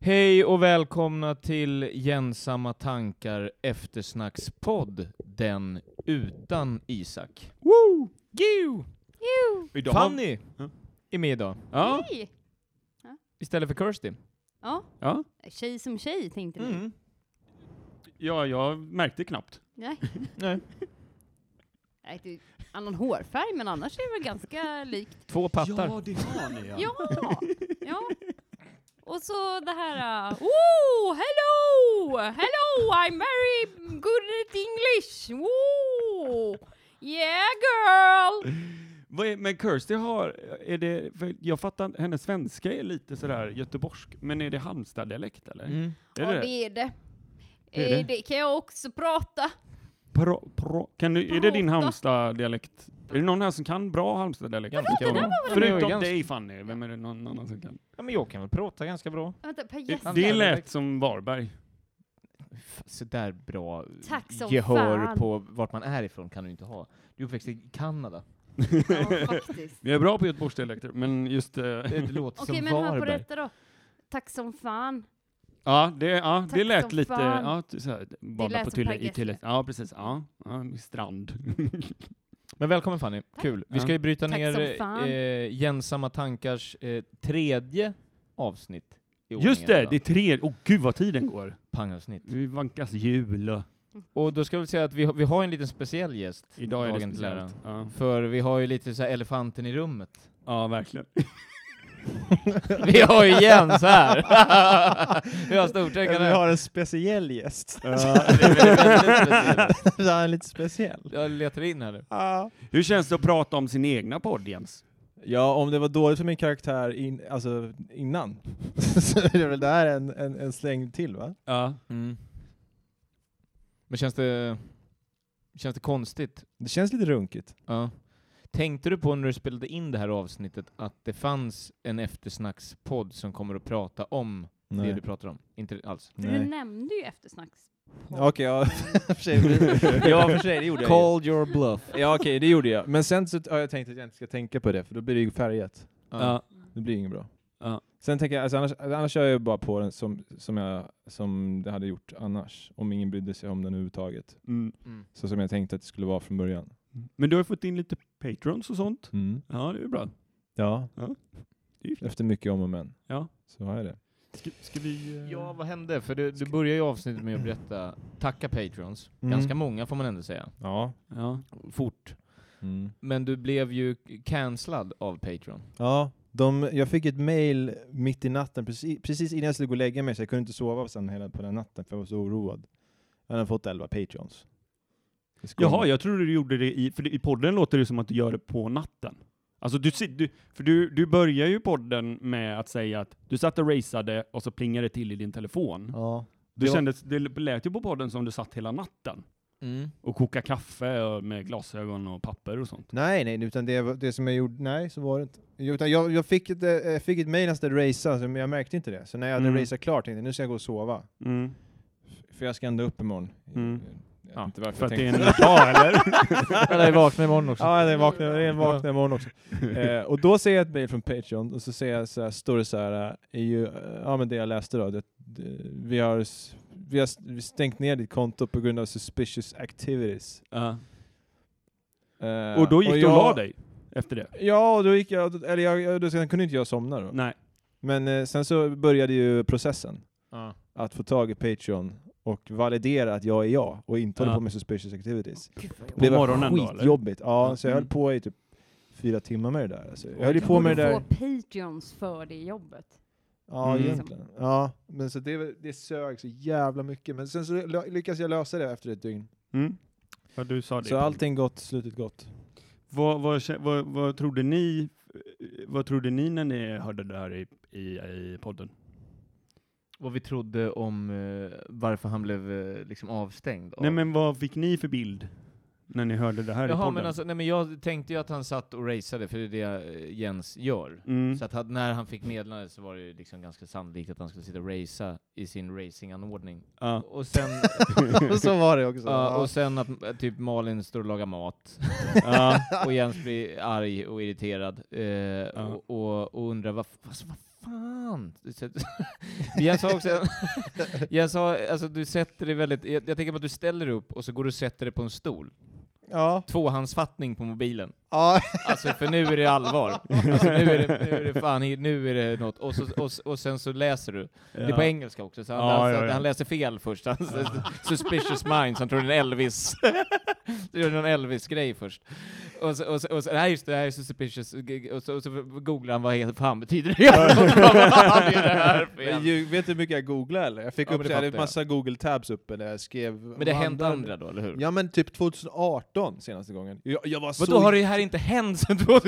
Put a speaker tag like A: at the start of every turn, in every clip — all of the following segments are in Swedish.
A: Hej och välkomna till Gensamma tankar eftersnackspodd, den utan Isak. Woo! Giu!
B: Idag har-
A: Fanny
B: Ja.
A: är med idag,
B: Ja,
C: Hej!
A: istället för Kirsty.
C: Ja,
B: ja.
C: tjej som tjej tänkte vi.
A: Mm.
B: ja, jag märkte knappt.
C: Nej,
A: Nej.
C: nej, det är annan hårfärg, men annars är det väl ganska likt.
A: Två pattar.
B: det har ni
C: Ja! ja. Och så det här... Uh, oh, hello! Hello, I'm very good at English! Oh, yeah girl!
B: Vad är, men Kirsty har, är det, för jag fattar inte- hennes svenska är lite sådär göteborgsk, men är det Halmstad-dialekt eller?
A: Mm.
B: Är det
C: Ja, det är det.
B: Det är
C: Eh, Det kan jag också prata.
B: Pro, pro, kan du, är det din
C: Prata.
B: Halmstad-dialekt? Är det någon här som kan bra Halmstad-dialekt?
A: Vadå, det där var väl-
B: Förutom
A: Jag är ganska-
B: dig Fanny, vem är det någon annan som kan?
A: Ja, men jag kan väl prata ganska bra.
C: Vänta, Per Gessle.
B: Det lät som Varberg.
A: F- Så där bra
C: Tack som
A: gehör
C: fan.
A: på vart man är ifrån kan du inte ha. Du är uppväxt i Kanada.
C: Ja, faktiskt.
B: Jag är bra på göteborgsdialekter, men just... eh,
A: Det låter
C: Okej,
A: som
C: men hör på
A: Varberg.
C: detta då. Tack som fan.
B: Ja, det, ja, det
C: Tack
B: lät
C: som
B: lite...
C: fan.
B: Ja, t- så här, bada
C: lät
B: på
C: som
B: Tylle-
C: Per
B: i Tylle.
C: Gessle.
B: Ja, precis. Ja, ja strand.
A: Men välkommen Fanny, kul. Vi
B: Ja.
A: ska ju bryta
C: Tack som
A: ner
C: fan.
A: eh, Gensamma tankars eh, tredje avsnitt. i
B: Just
A: ordningen
B: det,
A: idag.
B: det är tre... Åh gud vad tiden
C: Mm.
B: går.
A: Pangavsnitt.
B: Nu vankas jul och...
A: Och då ska vi säga att vi, har- vi har en liten speciell gäst.
B: Idag är det
A: Dagen till ära.
B: speciellt. Ja.
A: För vi har ju lite så här elefanten i rummet.
B: ja, verkligen.
A: Vi har ju Jens här! vi har stortänkande.
D: Vi har en speciell gäst. Det här är lite speciell.
A: Jag letar in här nu.
B: Hur känns det att prata om sin egna podd, Jens?
D: Ja, om det var dåligt för min karaktär in, alltså, innan, så är det väl det här en, en, en släng till va?
B: Ja.
A: Mm. Men känns det, känns det konstigt?
D: Det känns lite runkigt.
A: Ja. Tänkte du på när du spelade in det här avsnittet att det fanns en eftersnackspodd som kommer att prata om det du pratar om? Inte alls.
C: För du nämnde ju eftersnacks.
D: Okej, ja, för sig, det- ja för sig, det gjorde jag ju.
A: Call your bluff.
D: Ja okej, det gjorde jag. Men sen så har jag tänkt att jag inte ska tänka på det, för då blir det ju färgat.
A: Ja.
D: Det blir inget bra.
B: Ja.
D: Sen tänker jag, alltså annars, annars kör jag ju bara på den som, som, jag, som det hade gjort annars. Om ingen brydde sig om den överhuvudtaget.
B: Mm.
A: Mm.
D: Så som jag tänkte att det skulle vara från början.
B: Men du har ju fått in lite patrons och sånt.
D: Mm.
B: Ja, det är ju bra.
D: Ja,
B: Det är ju fint.
D: efter mycket om och men.
B: Ja.
D: Så har jag det.
B: Ska, ska vi... eh,
A: Ja, vad hände? För du, du börjar ju avsnittet med att berätta, tacka patrons.
D: Mm.
A: Ganska många får man ändå säga.
D: Ja.
B: ja.
A: Fort.
D: Mm.
A: Men du blev ju cancellad av Patreon.
D: Ja, de, jag fick ett mail mitt i natten, precis, precis innan jag skulle gå och lägga mig, så jag kunde inte sova sen hela på den natten, för jag var så oroad. Jag hade fått 11 patreons. Det ska
B: Jaha,
D: man-
B: jag trodde du gjorde det i... För det- i podden låter det som att du gör det på natten. Alltså du, sit- du, för du, du börjar ju podden med att säga att du satt och raceade och så plingade det till i din telefon.
D: Ja.
B: Du
D: Det var-
B: kändes, det lät ju på podden som du satt hela natten
A: Mm.
B: och kokade kaffe och med glasögon och papper och sånt.
D: Nej, nej, utan det, var- det som jag gjorde, nej så var det inte. Utan jag, jag, fick ett, eh, jag fick ett mail när jag skulle racea, så- men jag märkte inte det. Så när jag hade
B: Mm.
D: raceat klart tänkte jag, nu ska jag gå och sova. F- För jag ska ändå upp imorgon. Eh,
B: Mm.
D: Jag vet
B: Ja,
D: inte varför
B: för
D: jag
B: att det
D: tänkte
B: är en dag eller?
A: Jag lär ju vakna imorgon också.
D: Ja, det är vakna, det är vakna imorgon också. Eh, och då ser jag ett mejl från Patreon och så ser jag så här, står det så här, eh, är ju, eh, ja men det jag läste då, det, det, vi, har, s- vi har s- vi stängt ner ditt konto på grund av suspicious activities.
B: Ja.
D: Eh,
B: Och då gick du och
D: jag-
B: la dig efter det?
D: Ja, och då gick jag, eller jag, jag, då sen kunde inte jag somna då.
B: Nej.
D: Men eh, sen så började ju processen
A: Ja.
D: att få tag i Patreon och validera att jag är jag och inte
B: Ja.
D: håller på med suspicious activities.
C: Gud vad
B: På morgonen då, eller?
D: skitjobbigt. Ja,
B: Ja.
D: så jag höll
B: Mm.
D: på i typ fyra timmar med det där. Alltså. Jag
B: Oj.
D: höll ju på med det där.
C: få Patreons för det jobbet.
D: Ja,
B: Mm.
D: egentligen. Ja, men så det, det sög så jävla mycket. Men sen så lö- lyckas jag lösa det efter ett dygn.
B: Mm. Ja, du sa det.
D: Så allting gott, slutet gott.
B: Vad, vad, kä- vad, vad, trodde ni, vad trodde ni när ni hörde det här i, i, i podden?
A: Vad vi trodde om eh, varför han blev eh, liksom avstängd. av-
B: Nej men vad fick ni för bild när ni hörde det här i
A: Jaha,
B: podden?
A: men alltså, nej, men jag tänkte ju att han satt och raceade, för det är det eh, Jens gör.
B: mm.
A: Så att han, när han fick meddelandet så var det ju liksom ganska sannolikt att han skulle sitta och racea i sin racinganordning.
B: ja.
A: Och sen,
D: och så var det också.
A: ja, och sen att eh, typ Malin står och lagar mat.
B: ja.
A: och Jens blir arg och irriterad eh,
B: Ja.
A: och, och, och undrar vad, alltså, vad fan. Du sätter- Jens sa också, Jens sa, alltså du sätter dig väldigt, jag, jag tänker på att du ställer dig upp och så går du och sätter dig på en stol.
D: Ja.
A: Tvåhandsfattning på mobilen.
D: ja.
A: Alltså för nu är det allvar. Alltså nu är det, nu är det fan, nu är det något. Och, så, och, och sen så läser du. Det är på engelska också, så han,
B: Ja,
A: han,
B: ja, ja.
A: han läser fel först. Han, suspicious minds, han tror det är en Elvis. det är någon Elvis-grej först. Och så, och så, och så, nej just det, det här är så suspicious. Och så, och så googlar han vad helt fan betyder det. Vad är det här för
D: Men
A: jävla-
D: ju, vet du hur mycket jag googlade eller? Jag fick
A: Ja,
D: upp
A: men det
D: så jag hade
A: fattar jag.
D: massa google-tabs uppe där jag skrev...
A: Men det har hänt andra då, eller hur?
D: Ja men typ 2018 senaste gången. Jag, jag var
A: Vadå,
D: så...
A: har det här inte hänt sedan 2018?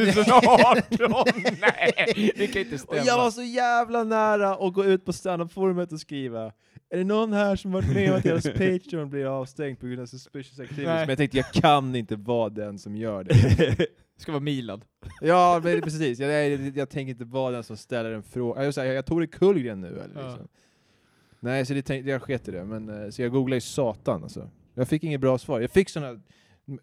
A: Nej, det kan inte
D: och
A: stämma.
D: jag var så jävla nära att gå ut på standup-forumet och skriva Är det någon här som varit med om att deras Patreon blir avstängd på grund av suspicious activities?
A: Nej.
D: Men jag tänkte, jag kan inte vara den som gör det.
A: Ska vara Milad.
D: ja, men precis. Jag, jag, jag tänker inte vara den som ställer en fråga. Jag, jag, jag tog det Kullgren nu eller
A: Ja.
D: liksom. Nej, så det tänkte, jag sket i det. Men, eh, så jag googlade ju satan alltså. Jag fick inget bra svar. Jag fick sådana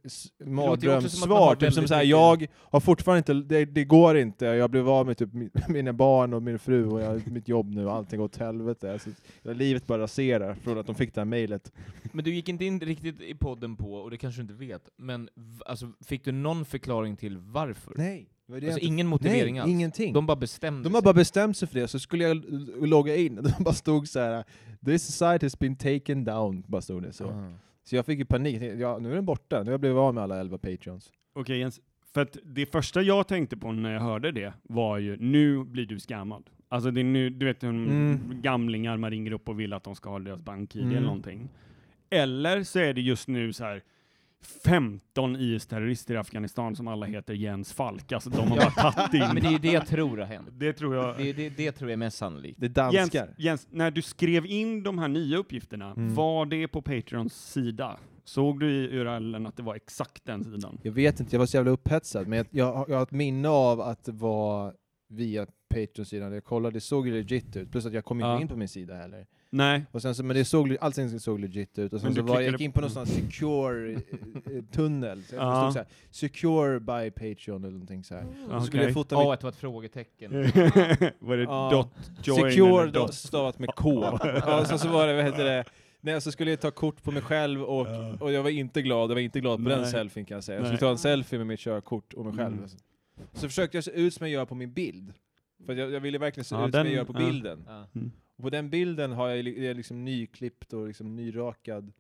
A: som att man har
D: mardrömssvar, typ som
A: väldigt
D: såhär,
A: mycket-
D: jag har fortfarande inte, det, det går inte, jag blev av med typ mi- mina barn och min fru och jag, mitt jobb nu, allting går åt helvete. Alltså, livet bara raserar från att de fick det här mejlet.
A: Men du gick inte in riktigt i podden på, och det kanske du inte vet, men v- alltså, fick du någon förklaring till varför?
D: Nej, det var det
A: alltså
D: jag inte-
A: ingen motivering
D: Nej,
A: alls?
D: ingenting.
A: De bara
B: Mm,
A: bestämde
D: De har
A: sig.
D: bara bestämt sig för det, så skulle jag l- logga in och de bara stod så här. This site has been taken down, bara stod det så.
A: Ah.
D: Så jag fick ju panik, Jag tänkte, ja, nu är den borta, nu har jag blivit av med alla 11 patreons.
B: Okej Jens, för att det första jag tänkte på när jag hörde det var ju nu blir du skammad. Alltså det är nu, du vet hur
D: Mm.
B: gamlingar man ringer upp och vill att de ska ha deras bank-id eller
D: Mm.
B: någonting. Eller så är det just nu så här 15 IS-terrorister i Afghanistan som alla heter Jens Falk. Alltså de har bara tagit
A: Men
B: in.
A: det är ju det jag tror har hänt.
B: Det tror jag.
A: Det, det, det tror jag är mest sannolikt.
D: Det är
B: Jens,
D: danskar.
B: Jens, när du skrev in de här nya uppgifterna,
D: Mm.
B: var det på Patreons sida? Såg du i URLen att det var exakt den sidan?
D: Jag vet inte, jag var så jävla upphetsad, men jag, jag, har- jag har ett minne av att det var via Patreon-sidan, jag kollade, det såg ju legit ut, plus att jag kom inte
B: Ja.
D: in på min sida heller.
B: Nej.
D: Och sen så, men det såg, le- allting såg legit ut, och sen
B: Men
D: så
B: du
D: var, jag
B: klickade
D: gick in på någon
B: på-
D: sån secure eh, eh, tunnel, så
B: Ja.
D: det stod så här, secure by Patreon eller någonting så här.
B: Ja,
D: Så skulle
B: okej.
D: jag fota
A: Åh,
D: mitt
A: att det var ett frågetecken.
B: var det
D: Ja.
B: dot join?
D: Secure
B: eller
D: då, stavat med K. ja, och sen så var det, vad heter det, Nej, så skulle jag ta kort på mig själv och,
B: Ja.
D: och jag var inte glad, jag var inte glad på den
B: Nej.
D: selfien kan jag säga. Jag
B: Nej.
D: skulle ta en selfie med mitt körkort och mig själv.
B: Mm.
D: Så försökte jag se ut som jag gör på min bild. För att jag, jag ville verkligen se
B: Ja,
D: ut
B: den-
D: som jag gör på
B: ja.
D: bilden.
A: Ja.
D: Och på den bilden har jag, li- jag är liksom nyklippt och liksom nyrakad,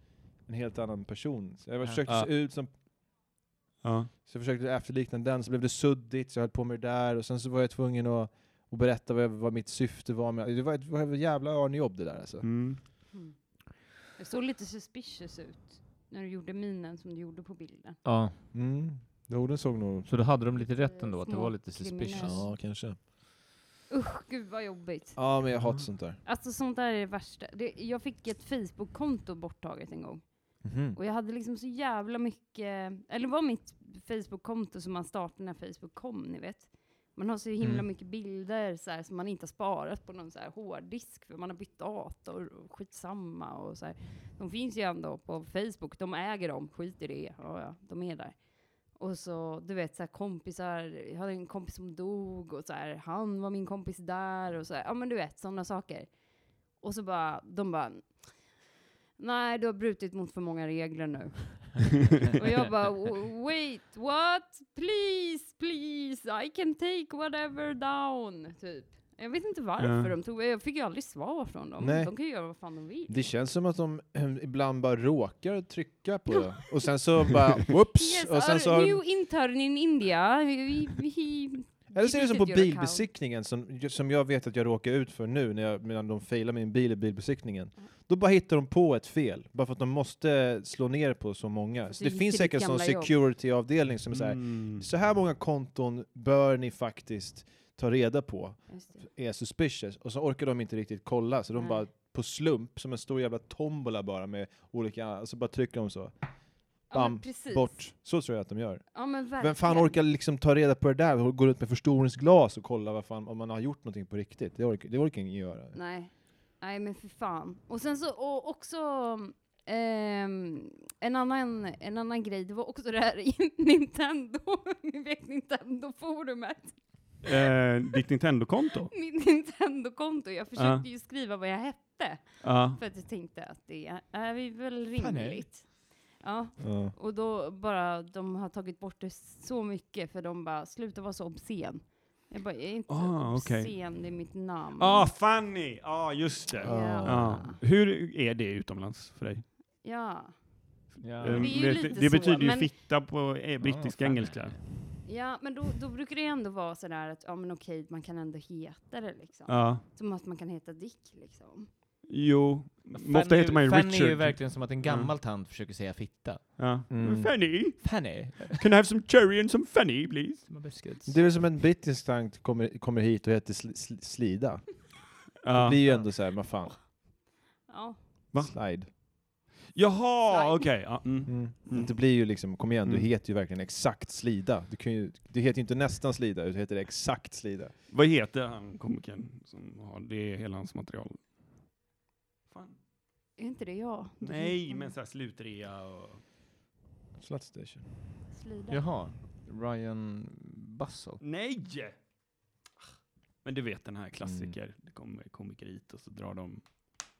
D: en helt annan person. Så jag försökte
A: Ja.
D: se ut som
B: Ja.
D: så jag försökte efterlikna den, så blev det suddigt, så jag höll på med det där, och sen så var jag tvungen att, att berätta vad, jag, vad mitt syfte var med det. var ett, var ett jävla örnjobb det där alltså.
B: Mm.
C: Mm. Det såg lite suspicious ut när du gjorde minen som du gjorde på bilden.
A: ja,
D: Mm. Jorden såg nog...
A: så då hade de lite rätt ändå, att det
C: Små
A: var lite
C: kriminella.
A: suspicious.
C: Ja,
D: kanske.
C: Usch, gud vad jobbigt.
D: Ja, men jag hatar sånt där.
C: Alltså sånt där är det värsta. Det, jag fick ett Facebook-konto borttaget en gång.
D: Mhm. Mm.
C: Och jag hade liksom så jävla mycket, eller det var mitt Facebook-konto som man startade när Facebook kom, ni vet. Man har så himla
A: Mm.
C: mycket bilder så här, som man inte har sparat på någon så här hårddisk, för man har bytt dator och skitsamma och så här. De finns ju ändå på Facebook, de äger dem, skit i det, ja, ja, de är där. Och så, du vet, så här kompisar, jag hade en kompis som dog och så här, han var min kompis där och så här, ja men du vet, sådana saker. Och så bara, de bara, nej du har brutit mot för många regler nu. och jag bara, "W- wait, what? Please, please, I can take whatever down, typ. Jag vet inte
B: Ja.
C: varför de tog, jag fick ju aldrig svar från dem.
D: Nej.
C: De kan ju göra vad fan de vill.
D: Det känns som att de eh, ibland bara råkar trycka på det, och sen så bara whoops!
C: Yes,
D: och sen så
C: our
D: har de-
C: new intern in India, he, he- he
D: Eller så är det som på
C: deleted your account.
D: bilbesiktningen, som, som jag vet att jag råkar ut för nu när jag, medan de failar min bil i bilbesiktningen. Då bara hittar de på ett fel, bara för att de måste slå ner på så många.
C: För
D: Så
C: du
D: det
C: gick
D: finns
C: till ditt
D: säkert en sån
C: gamla jobb.
D: security-avdelning som är så här,
B: Mm.
D: så här många konton bör ni faktiskt ta reda på
C: Just det.
D: är suspicious, och så orkar de inte riktigt kolla, så de
C: Nej.
D: bara på slump, som en stor jävla tombola bara med olika, och så bara trycker de så,
C: ja,
D: Bam,
C: men precis.
D: bort. Så tror jag att de gör.
C: Ja, men
D: Vem fan
C: verkligen.
D: orkar liksom ta reda på det där? och Gå ut med förstoringsglas och kolla vad fan, om man har gjort någonting på riktigt. Det orkar, det orkar ingen göra.
C: Nej. Nej, men för fan. Och sen så och också ehm, en, annan, en annan grej, det var också det här i Nintendo, ni vet Nintendo-forumet.
B: eh, ditt Nintendo-konto?
C: Mitt Nintendo-konto. Jag försökte
B: Ja.
C: ju skriva vad jag hette.
B: Ja.
C: För att jag tänkte att det är vi väl
A: Fan, nej.
C: rimligt. Ja,
E: Ja.
C: och då bara, de har tagit bort det så mycket för de bara, sluta vara så obscen. Jag bara, jag är inte
B: Ah, okej.
C: obscen, det är mitt namn.
B: Ah, Fanny! Ja, ah, just det.
C: Ja.
B: Ja. Hur är det utomlands för dig?
C: Ja.
A: Ja.
B: Eh,
C: är ju
B: det,
C: lite
B: det
C: så,
B: betyder ju
C: men-
B: fitta på eh,
D: Ah,
B: brittiska
A: Fanny.
B: engelska.
C: ja, men då, då brukar det ändå vara sådär att, ja men okej, man kan ändå heta det liksom.
B: Ja.
C: Som att man kan heta Dick liksom.
B: Jo,
A: Fanny-
B: ofta heter man ju
A: Fanny är ju
B: Richard.
A: verkligen som att en gammal tant försöker säga fitta.
B: Ja.
E: Mm.
B: Fanny,
A: Fanny!
B: can I have some cherry and some Fanny please?
A: Som har biscuits.
E: Det är väl som en brittisk tank kommer, kommer hit och heter sl, sl, Slida. Det
B: Ja.
E: blir ju ändå så här, vad fan,
C: Ja.
B: Va?
E: slide.
B: Jaha, okej. Ja, mm.
E: Mm.
B: Mm.
E: Det blir ju liksom, kom igen, du
B: Mm.
E: heter ju verkligen exakt Slida. Du, kan ju, du heter ju inte nästan Slida, utan du heter exakt Slida.
B: Vad heter han komikern som har det är hela hans material? Fan.
C: Är inte det jag?
B: Nej, men såhär slutrea och...
E: Slutstation.
C: Slida.
A: Jaha. Ryan Bussell.
B: Nej! Men du vet den här klassiker. Det kommer komiker hit och så drar de...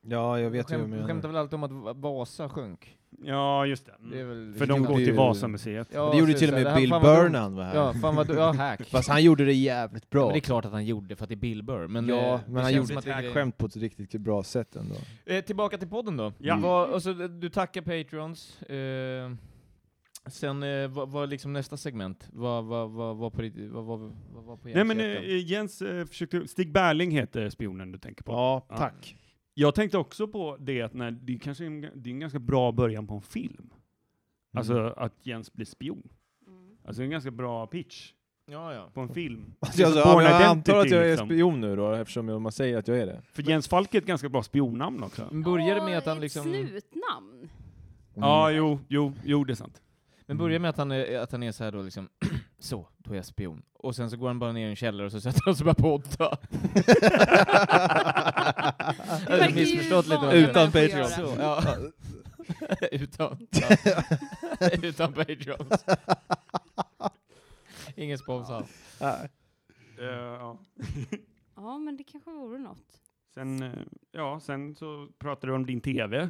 E: Ja, jag vet ju vad du
A: Skäm, skämtar
E: menar.
A: väl alltid om att Va- Vasa sjönk?
B: Ja, just det. Mm.
A: Det är väl
B: För de går
E: det är
B: till
E: ju-
B: Vasamuseet.
A: Ja,
E: det gjorde ju
A: så-
E: till och
A: så-
E: med
A: han-
E: Bill
A: fan vad dum-
E: Burr när han var här.
A: Ja, fan vad du, ja, hack.
E: Fast han gjorde det jävligt bra.
A: Men det är klart att han gjorde för att det är Bill Burr, men...
E: ja,
A: eh,
E: men han
A: det känns
E: gjorde
A: som
E: ett
A: att det är
E: här
A: grejen.
E: skämt på ett riktigt bra sätt ändå.
A: Eh, tillbaka till podden då.
B: Ja.
A: Vad- och så, eh, du tackar Patreons. Eh, sen, eh, vad var liksom nästa segment? Vad var på ditt... Vad var vad var på
B: Nej men
A: hjärnan?
B: eh, Jens eh, försökte... Stig Berling heter spionen du tänker på.
E: Ja,
B: Ja.
E: tack.
B: Jag tänkte också på det att när, det kanske är en, det är en ganska bra början på en film. Alltså att Jens blir spion.
C: Mm.
B: Alltså det är en ganska bra pitch
A: Ja, ja.
B: på en film.
E: Alltså, jag,
B: Alltså,
E: sa, ja, men
B: Born
E: jag antar att
B: Identity,
E: jag är
B: liksom.
E: spion nu då, eftersom man säger att jag är det.
B: För Jens Falk är ett ganska bra spionnamn också.
E: Mm.
A: Men började
C: Ja,
A: med att han
C: ett
A: liksom...
C: snutnamn.
B: Ja, jo, jo, jo, det är sant.
A: Men börjar med att han är, att han är så här då liksom, så, då är jag spion. Och sen så går han bara ner i en källare och så sätter han sig bara podda.
C: verkar
A: Jag har missförstått
C: ju
A: lite. vad
C: vanliga
A: jag menar.
E: Utan
C: människor
E: Patreon.
C: göra.
A: Så, ja. utan, utan Patreons. Ingen spons alls.
B: Eh, ja.
C: Ja, men det kanske vore något.
B: Sen, eh, ja, sen så pratade du om din TV.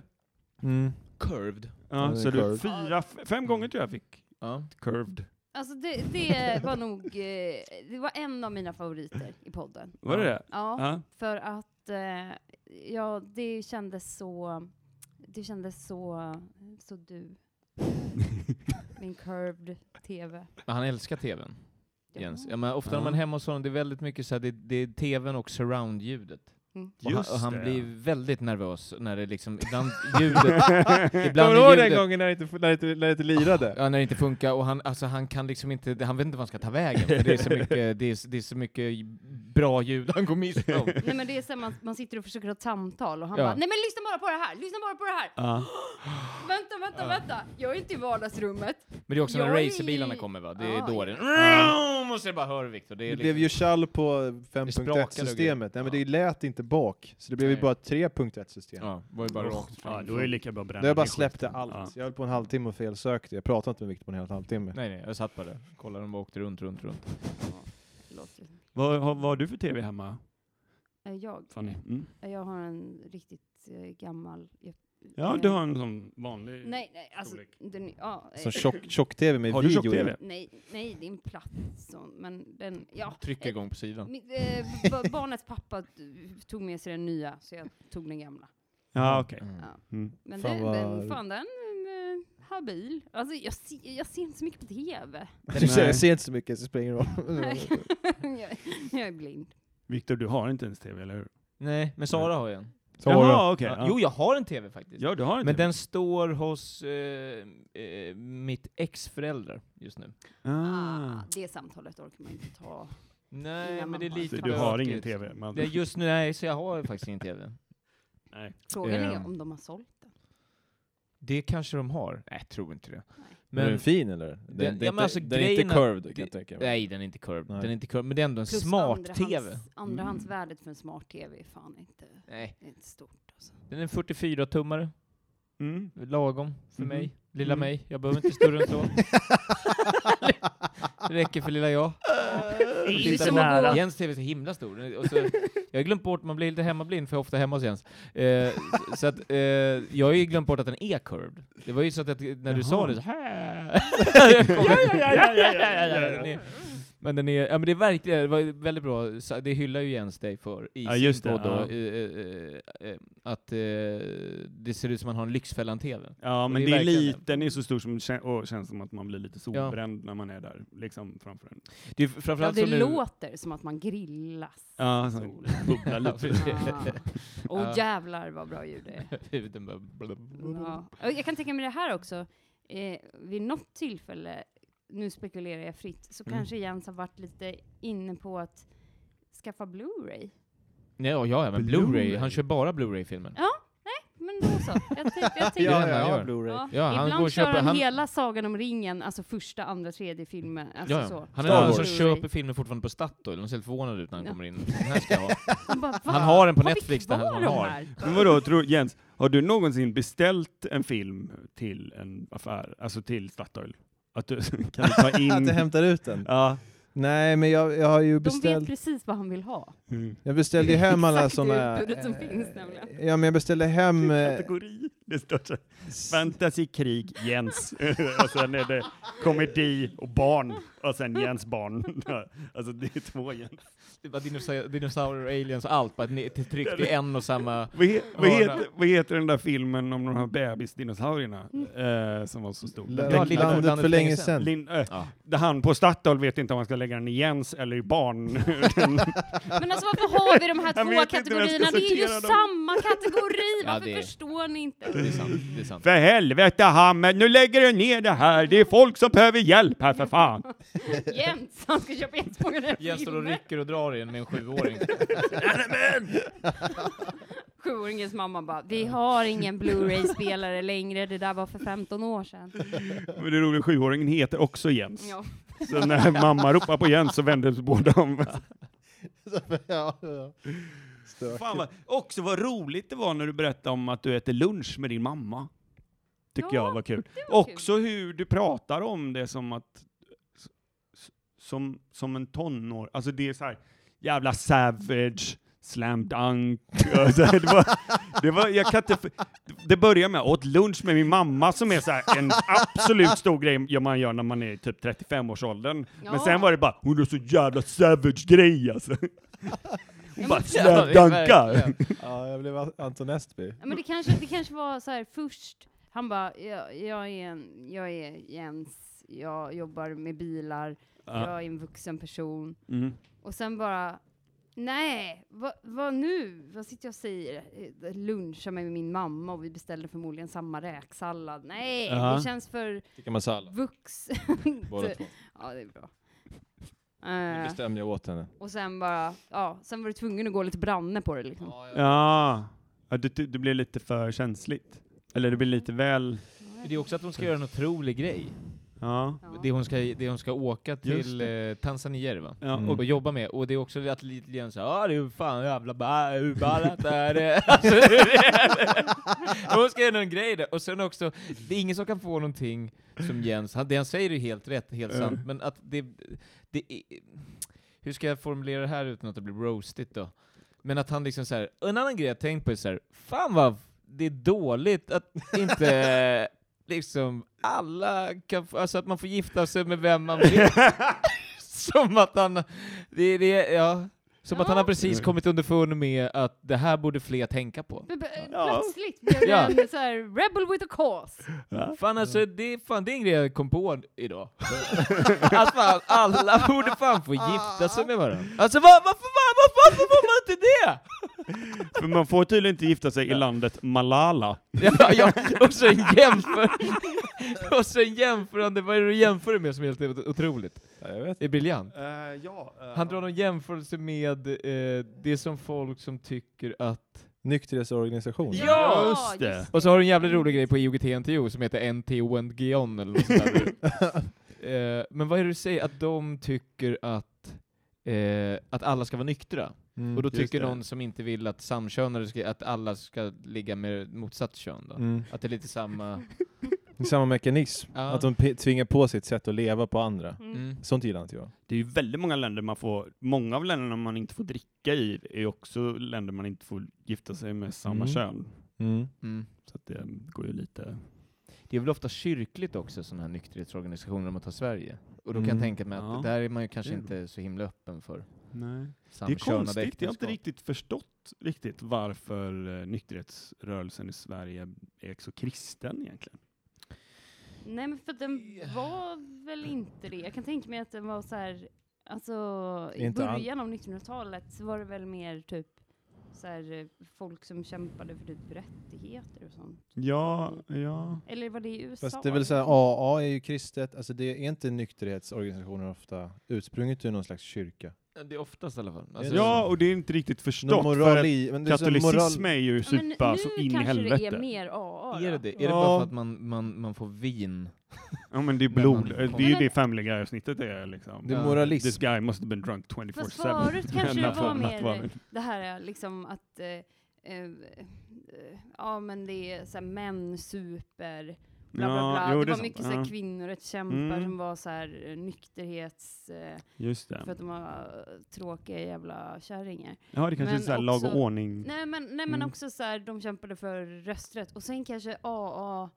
E: Mm.
A: Curved.
B: Ja,
E: den
B: så
E: är
B: du,
E: curved.
B: fyra, f- fem gånger tror jag fick
A: Ja.
B: curved.
C: Alltså det, det var nog, eh, det var en av mina favoriter i podden.
B: Var det det?
C: Ja,
B: Ja.
C: för att eh, ja, det kändes så, det kändes så, så du. Min curved TV.
A: Men han älskar tvn, Jens. Ja,
C: Ja.
A: men ofta när man
B: Ja.
A: är hemma hos honom, det är väldigt mycket så här, det, det är tvn och surround-ljudet.
C: Mm.
A: Och han,
B: Just
A: och han
B: det.
A: blir väldigt nervös när det liksom, ibland ljudet
E: Kommer
A: Ibland
E: du ihåg
A: är
E: den
A: ljudet,
E: gången när det inte, när det inte, när det inte lirade?
A: ja, när det inte funkar, och han, alltså, han kan liksom inte, han vet inte vad han ska ta vägen, för det är så mycket, det är, så- det är så mycket bra ljud han går miste om.
C: Nej men det är så här, man, man sitter och försöker ha ett samtal och han
A: Ja.
C: bara nej men lyssna bara på det här, lyssna bara på det här.
B: Ja.
C: Vänta, vänta, vänta. Jag är inte i vardagsrummet.
A: Men det är också när
C: Jag är
A: racerbilarna
C: i-
A: kommer va, det är
C: Ja,
A: då
C: ja.
A: den... Vroom! Och så bara hör Viktor, det är
E: Det blev
A: liksom...
E: ju tjall på
A: sprakade och
E: 5.1-systemet. Nej men
A: Ja.
E: det lät inte bak, så det blev ju
A: Nej.
E: bara 3.1-system.
A: Ja, var ju bara rakt
B: Ja,
A: fram.
B: då är det lika bra att bränna
E: Då jag bara
B: ner
E: släppte
B: skiten. Ja.
E: allt. Jag höll på en halvtimme och felsökte. Jag pratade inte med Viktor på en hel halvtimme.
A: Nej nej, jag satt bara där, kollade, de bara åkte runt, runt, runt.
C: Förlåt.
B: Vad har, vad har du för TV hemma,
C: Eh, Jag,
B: Fanny? Mm.
C: jag har en riktigt eh, gammal... Jag,
B: Ja,
C: eh,
B: du har en sån vanlig...
C: Nej, nej, alltså...
B: storlek.
C: Den, ja, eh,
E: Som tjock- tjock-tv med
B: Har du
E: video i.
B: tjock-tv?
C: Nej, nej, det är en platt sån, men den... Ja,
A: Trycka
C: eh,
A: igång på sidan.
C: mitt, eh, b- barnets pappa t- tog med sig den nya, så jag tog den gamla.
B: Ja, okej.
A: Mm.
C: Ja.
B: Mm.
C: Men
E: Fan,
C: den,
E: vad-
C: den, fan den eh, habil. Alltså jag, se, jag ser inte så mycket på TV.
E: Du ser,
B: Nej.
E: jag ser inte så mycket, så det spelar ingen roll.
C: Nej. jag, jag är blind.
B: Viktor, du har inte ens TV, eller hur?
A: Nej, men Sara har ju en.
E: Sara.
B: okej.
A: Ja,
B: ja.
A: Jo, jag har en TV faktiskt.
B: ja, du har en
A: Men
B: TV.
A: den står hos eh, eh, mitt ex föräldrar just nu.
B: Ah.
C: Ah, det samtalet orkar man inte ta.
A: Nej,
C: Innan
A: men det är
C: mamma.
A: lite
B: Så du har
A: bökigt.
B: ingen TV? Man...
A: Det är just nu, nej, så jag har faktiskt ingen TV.
B: Nej.
C: Frågan
A: Ehm.
C: är om de har sålt den.
A: Det kanske de har. Nej, jag tror inte det.
C: Nej.
E: Men är den
A: Men,
E: fin eller? Den, den,
A: ja,
E: är
A: men
E: inte-
A: alltså,
E: den är inte
A: grejen att-
E: curved kan
A: det-
E: jag tänka mig.
A: nej, den är inte curved.
E: Nej.
A: Den är inte curved, men det är ändå en smart-TV.
C: andrahands- Andrahandsvärdet för en smart-tv är fan inte,
A: Nej,
C: det är inte stort. Alltså.
A: den är en 44-tummare.
B: Mm.
A: Lagom för
B: Mhm.
A: mig. Lilla
B: Mm.
A: mig. Jag behöver inte större än så. det räcker för lilla jag.
B: Det
C: är
B: är
C: så
B: så nära.
A: Jens TV är så himla stor. Och så, jag har glömt bort, man blir lite hemmablind för jag är ofta hemma hos Jens. Eh, så- så att, eh, jag har ju glömt bort att den är curved. Det var ju så att, att när du sa
B: Jaha.
A: det så här. Jag kom-
B: Ja, ja, ja, ja, ja, ja, ja, ja.
A: Den är- Men den är, ja men det är verkligen, det var ju väldigt bra, Så det hyllar ju Jens dig för i
B: Ja,
A: sin
B: just det,
A: podd då,
B: ja.
A: eh, eh, eh, att eh, det ser ut som man har en Lyxfällan-TV.
B: Ja, men
A: det
B: det
A: är
B: är,
A: verkligen
B: lite, den är så stor som kän- och känns som att man blir lite solbränd när man är där, liksom framför en.
A: Det är ju framförallt
C: Ja, det
A: som nu-
C: låter som att man grillas.
B: Ja,
C: så
B: så bubblar lite.
C: Ah. Och
A: Ja.
C: jävlar vad bra ljud det är.
A: Huden bara... blub, blub.
C: Ja. Och Jag kan tänka mig det här också. Eh, vid något tillfälle, nu spekulerar jag fritt, så
A: Mm.
C: kanske Jens har varit lite inne på att skaffa Blu-ray.
A: Nej, ja, ja, men Blu-ray, han kör bara Blu-ray-filmer.
C: Men då så. Jag tänkte, jag tänkte,
A: Ja, ja, ja,
E: Blu-ray.
C: Ja.
A: Ja, han
C: Ibland
A: går och
C: kör
A: köper-
C: han,
A: han-
C: hela Sagan om ringen, alltså första, andra, tredje filmen. Alltså
A: Ja, ja.
C: så.
A: Han är
E: Star
A: den som
E: Wars.
A: köper filmer fortfarande på Statoil, de ser helt förvånade ut när han
C: Ja.
A: kommer in. Den här ska jag ha.
C: Han, bara, "Va?
A: Han har den på
C: Har vi
A: Netflix, den här
C: kvar
A: som han
C: de
A: har.
C: här?"
B: Men vadå, tror, Jens, har du någonsin beställt en film till en affär, alltså till Statoil? Att du kan du ta
E: Att
B: in...
E: jag hämtar ut den?
B: ja.
E: Nej, men jag, jag har ju
C: De vet
E: beställt...
C: precis vad han vill ha.
B: Mm.
E: Jag beställde ju hem alla
C: Exakt det
E: såna...
C: utbudet som
E: eh,
C: finns nämligen.
E: Ja, men jag beställde hem... eh,
B: Kategori. Det står så här,
E: s-
B: fantasy, krig, Jens. och sen är det komedi och barn. Och sen Jens barn. alltså det är två Jens.
A: Det är bara dinosa- Dinosaurier, aliens och allt, bara ne- till- tryckt i en och samma...
B: Vad, he, vad,
A: Ja,
B: heter, vad heter den där filmen om de här bebisdinosaurierna eh, som var så stor? Den
A: Ja,
E: la-
A: Lilla
E: Landet för länge sedan.
B: Lin, eh,
A: Ja.
B: där han på Statoil vet inte om han ska lägga den i Jens eller i barn.
C: Men alltså varför har vi de här
B: Jag vet
C: två
B: inte hur jag ska
C: kategorierna? Det är ju
B: sortera dem.
C: samma kategori,
A: Ja,
C: varför
A: det är-
C: förstår ni
A: Det
C: inte?
A: är sant, det är sant.
B: för helvete Hammer, nu lägger du ner det här. Det är folk som behöver hjälp här för fan.
C: Jens, han ska köpa jättemånga den här
A: Jens står och
C: filmen.
A: rycker och drar i en med en sjuåring.
C: Sjuåringens mamma bara, vi har ingen Blu-ray-spelare längre, det där var för 15 år sedan.
B: Men det roliga, sjuåringen heter också Jens.
C: Ja.
B: Så när mamma ropar på Jens så vänder sig båda om.
E: ja, ja. Stök.
B: Fan vad, också vad roligt det var när du berättade om att du äter lunch med din mamma. Tycker
C: Ja,
B: jag var kul.
C: var kul.
B: också hur du pratar om det som att, s- s- som, som en tonår, alltså det är så här, jävla savage, slam dunk. Alltså, det var, det var, jag kan inte, f- det börjar med, jag åt lunch med min mamma som är så här, en absolut stor grej ja, man gör när man är i typ 35-årsåldern.
C: Ja.
B: Men sen var det bara, hon är så jävla savage grej alltså. Hon bara slam
A: Ja,
B: dunkar.
A: verkligen.
E: ja, jag blev Anton Estby.
C: Ja, men det kanske, det kanske var så här först, han bara, jag, jag, är, en, jag är Jens, jag jobbar med bilar, jag är en vuxen person.
B: Mm.
C: Och sen bara, nej, vad vad nu? Vad sitter jag och säger? Eh, Lunchar med min mamma och vi beställde förmodligen samma räksallad. Nej,
B: Ja.
C: det känns för
D: Tikka masala.
C: vuxet.
D: Båda två.
C: ja, det är bra.
D: Nu
C: Eh,
D: bestämde jag åt henne.
C: och sen bara, ja, sen var du tvungen att gå lite branne på det liksom. Ja,
B: Ja, ja det, det blir lite för känsligt. Eller det blir lite väl...
A: Det är också att hon ska göra en otrolig grej.
B: Ja.
A: Det hon ska, det hon ska åka till eh, Tanzania är det, va?
B: Ja,
A: och jobba med. Och det är också att lite grann såhär, ja det är ju fan jävla ba- hur ballat det här är Alltså, det är- Hon ska göra någon grej där. Och sen också, det är ingen som kan få någonting som Jens, han, det han säger är ju helt rätt, helt sant, men att det, det är, hur ska jag formulera det här utan att det blir roastigt då? Men att han liksom såhär, en annan grej jag tänkt på är såhär, fan vad det är dåligt att inte liksom alla kan, få- alltså att man får gifta sig med vem man vill. som att han, det, det, ja. Som att han har precis kommit underfund med att det här borde fler tänka på.
C: Men b-
B: Ja.
C: Plötsligt blev det
A: Ja.
C: en så här rebel with a cause.
A: Fan alltså, det, fan, det är en grej jag kom på idag. att fan, alla borde fan få gifta sig med varandra. Alltså var, varför, var, var, varför får man inte det?
B: För man får tydligen inte gifta sig i landet Malala.
A: Ja, ja, och sen jämför... Och sen jämförande, vad är det du jämför med som är helt otroligt?
D: Ja, jag vet.
A: Det är briljant.
B: Eh, ja,
A: Han drar någon jämförelse med eh, det som folk som tycker att...
E: Nykterhetsorganisation.
A: Ja!
B: Just det.
A: Och så har du en jävligt rolig grej på IOGT-NTO som heter NTO and Gion eller något sånt där. eh, men vad är det du säger? Att de tycker att, eh, att alla ska vara nyktra?
E: Mm.
A: Och då
B: just
A: tycker
B: det.
A: någon som inte vill att samkönade ska, att alla ska ligga med motsatt kön då?
E: Mm.
A: Att det är lite samma...
D: Det är samma mekanism.
A: Ja.
D: Att de pe- tvingar på sig ett sätt att leva på andra.
C: Mm.
A: Mm.
D: Sånt gillar inte jag.
B: Det är ju väldigt många länder man får, många av länderna man inte får dricka i är ju också länder man inte får gifta sig med samma
D: Mm.
B: kön.
D: Mm.
A: Mm.
B: Så att det går ju lite...
A: Det är väl ofta kyrkligt också, sådana här nykterhetsorganisationer om man tar Sverige. Och då kan
D: Mm.
A: jag tänka mig att
B: Ja.
A: där är man ju kanske
B: Det är-
A: inte så himla öppen för
B: Nej. Det är
A: samkönade
B: konstigt, jag har inte
A: äktenskap.
B: riktigt förstått riktigt varför eh, nykterhetsrörelsen i Sverige är så kristen egentligen.
C: Nej, men för att den var väl inte det. Jag kan tänka mig att den var så här, alltså i
D: Inte all-
C: början av 1900-talet så var det väl mer typ så här, eh, folk som kämpade för typ rättigheter och sånt.
B: Ja, ja.
C: Eller var det i USA?
D: Fast det är väl såhär, AA är ju kristet, alltså det är inte nykterhetsorganisationer ofta utsprunget ur någon slags kyrka?
A: Ja, Det är oftast i alla fall. Alltså,
B: Alltså, ja, och det är inte riktigt förstått. för att
D: i, men det är så här
B: katolicism är ju
C: Ja, men
B: supa så in i
C: kanske det är
B: helvete.
C: mer AA
A: Är det
C: då.
A: det? Är det bara
B: Ja.
A: för att man, man, man får vin?
B: Ja men det är
A: Men man-
B: blod, Eh, det är ju det Family Guy-avsnittet är liksom.
D: Det är
A: Ja.
D: moralism.
B: This guy must have been drunk
C: Fast
B: 24-7.
C: förut kanske det
B: Natt-
C: var
B: nattvarden.
C: mer det här är liksom att eh, eh, eh, ja men det är så här män super bla bla bla. det, var
B: är
C: mycket så
B: sant.
C: här
B: Ja,
C: kvinnorättskämpar
B: Mm.
C: som var så här eh, nykterhets... Eh,
B: Just det.
C: för att de var eh, tråkiga jävla kärringar.
B: Ja, det kanske är
C: Men
B: så här lag och
C: också-
B: ordning.
C: Nej men, nej, men
B: Mm.
C: också så här, de kämpade för rösträtt. Och sen kanske AA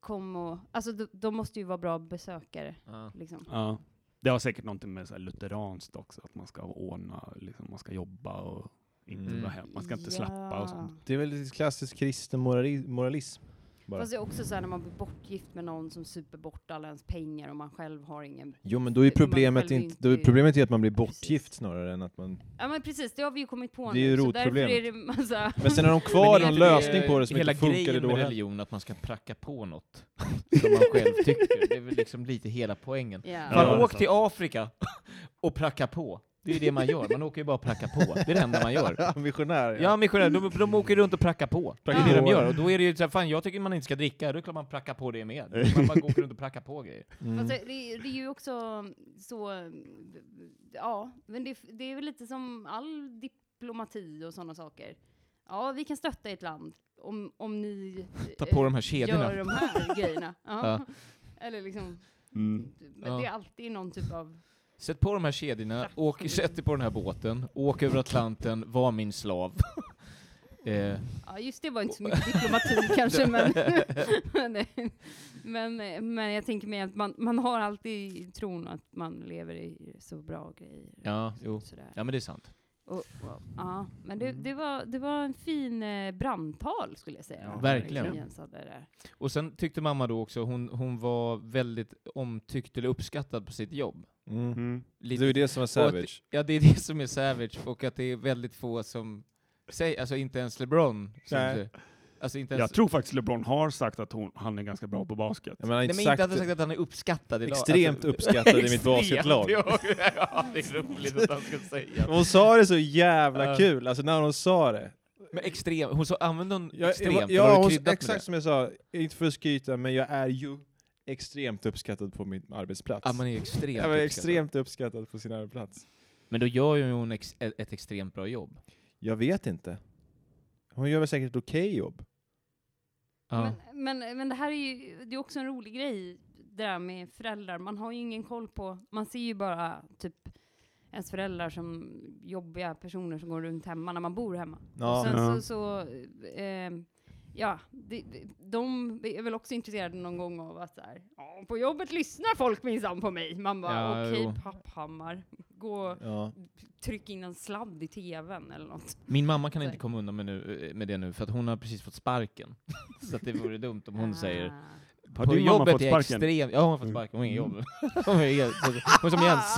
C: kom och... Alltså de, de måste ju vara bra besökare
A: Ja.
C: liksom.
B: Ja. Det har säkert någonting med så här lutheranskt också, att man ska ordna, liksom, man ska jobba och inte
A: Mm.
B: vara hemma. Man ska inte slappa och sånt.
D: Det är väl lite klassisk kristen morali- moralism? bara.
C: Fast det är också så här när man blir bortgift med någon som super bort alla ens pengar och man själv har ingen...
D: Jo men då är
C: Man
D: problemet,
C: själv
D: inte,
C: inte
D: då är
C: ju-
D: problemet är att man blir
C: Ja, precis.
D: bortgift snarare än att man...
C: Ja men precis, det har vi ju kommit på
D: Det är
C: nu.
D: ju
C: så därför
D: rotproblemet.
C: är det massa...
D: Men sen har de
C: Men
D: kvar
C: det är
D: någon
C: det-
D: lösning på det som
A: Hela
D: inte funkar
A: grejen
D: då
A: med
D: heller.
A: religion, att man ska pracka på något som man själv tycker. Det är väl liksom lite hela poängen.
C: Ja.
A: Fan,
B: Ja, det är
A: åk
B: sant.
A: till Afrika och pracka på. Det är ju det man gör, man åker ju bara och prackar på. Det är det enda man gör.
D: Missionär
A: Ja, missionärer, de, de åker runt och prackar på. Det är
D: Prackar
A: det de
D: på.
A: gör. Och då är det ju så här, fan jag tycker man inte ska dricka, då är det klart man prackar på det med. Man bara åker runt och prackar på grejer.
D: Mm.
C: Fast det, det, det är ju också så, ja, men det, det är väl lite som all diplomati och sådana saker. Ja, vi kan stötta ett land om, om ni
A: Ta
C: eh,
A: på de här kedjorna.
C: gör de här grejerna. Ja.
A: Ja.
C: Eller liksom,
B: Mm.
C: men
A: Ja.
C: det är alltid någon typ av...
A: Sätt på de här kedjorna,
C: Tack.
A: åk, sätt dig på den här båten, åk över Atlanten, var min slav. eh,
C: Ja, just det var inte så mycket diplomati kanske, men, men, det- men, men jag tänker mig att man, man har alltid tron att man lever i så bra grejer.
A: ja, jo.
C: Sådär.
A: Ja men det är sant.
C: Och, och, ja, men det, det, var, det var en fin eh, brandtal skulle jag säga.
B: Ja,
C: Om
A: verkligen.
C: Marie Jens hade det där.
A: Och sen tyckte mamma då också, hon, hon var väldigt omtyckt eller uppskattad på sitt jobb.
D: Mm.
B: Mm.
D: Det är ju det som är savage.
A: Ja, det är det som är savage, och att det är väldigt få som säger, alltså inte ens LeBron. som
D: Nej.
A: säger- Alltså inte ens...
B: Jag tror faktiskt LeBron har sagt att hon, han är ganska bra på basket.
D: Jag menar,
A: Nej,
D: inte
A: men inte att
D: sagt,
A: han sagt att han är uppskattad idag.
D: Alltså, extremt uppskattad i mitt
A: Extremt,
D: basketlag.
A: ja. ja, det är roligt att han ska säga.
D: Hon sa det så jävla
A: Ja.
D: kul, alltså när hon sa det.
A: Men extrem, hon sa, använde hon
D: Jag,
A: extremt?
D: jag,
A: eller
D: ja,
A: har du
D: hon,
A: kryddat med
D: exakt som jag sa, inte för att skryta, men jag är ju extremt uppskattad på min arbetsplats.
A: Ja, man är extremt alltså.
D: jag
A: uppskattad.
D: är extremt uppskattad på sin arbetsplats.
A: Men då gör ju hon ex- ett, ett extremt bra jobb.
D: Jag vet inte. Hon gör väl säkert ett okej jobb.
A: Ja.
C: Men, men, men det här är ju det är också en rolig grej, det där med föräldrar. Man har ju ingen koll på, man ser ju bara typ ens föräldrar som jobbiga personer som går runt hemma när man bor hemma.
D: Ja.
C: Och sen
B: Ja.
C: så, så ehm, ja, de, de är väl också intresserade någon gång av att så här, "Ja, på jobbet lyssnar folk minsann på mig. Man bara,
A: Ja,
C: okej
A: jo.
C: papphammar, gå
D: Ja.
C: tryck in en sladd i tvn eller något.
A: Min mamma kan inte
C: Säg.
A: komma undan med, nu, eh, med det nu, för att hon har precis fått sparken. Så att det vore dumt om
C: Ah.
A: hon säger
B: Har
A: på
B: din mamma
A: jobbet
B: fått
A: är jag
B: sparken?
A: Extrem, ja, hon
D: Mm.
A: har fått sparken. Hon har inget jobb. Hon är, helt- hon är som Jens.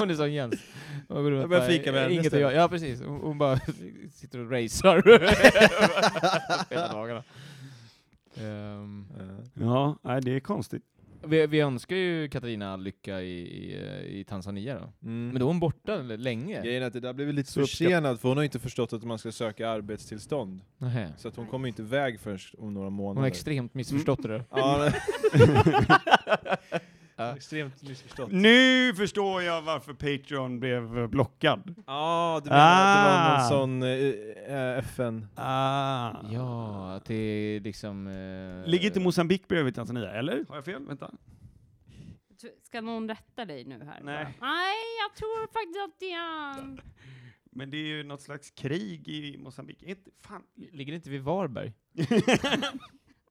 A: Hon är som Jens. Hon går runt
D: Jag börjar
A: bara,
D: fika med henne
A: Inget att
D: istället.
A: göra. Ja, precis. Hon, hon bara sitter och racear. Hela dagarna. Ehm,
B: Ja, nej, det är konstigt.
A: vi, vi önskar ju Katarina lycka i, i, i Tanzania då.
B: Mm.
A: Men då är hon borta länge.
D: Mm. Grejen är att det där blev lite
A: Så uppskatt-
D: försenad för hon har inte förstått att man ska söka arbetstillstånd.
A: Nähä.
D: Så att hon kommer ju inte
B: Mm.
D: iväg förrän om några
A: Hon har
D: månader.
A: extremt missförstått det där.
D: Ja,
A: Ja.
D: Extremt missförstått.
B: Nu förstår jag varför Patreon blev blockad.
D: Ja, Ah, du menar att det var
B: Ah.
D: någon sån eh, eh, FN...
B: Ah.
A: Ja, att det är liksom... eh,
B: Ligger inte Mozambique bredvid Tanzania, eller? Har jag fel? Vänta.
C: T- Ska någon rätta dig nu här?
B: Nej.
C: bara? Nej, jag tror faktiskt att det är...
B: Men det är ju något slags krig i Mozambique. Inte, fan.
A: Ligger det inte vid Varberg?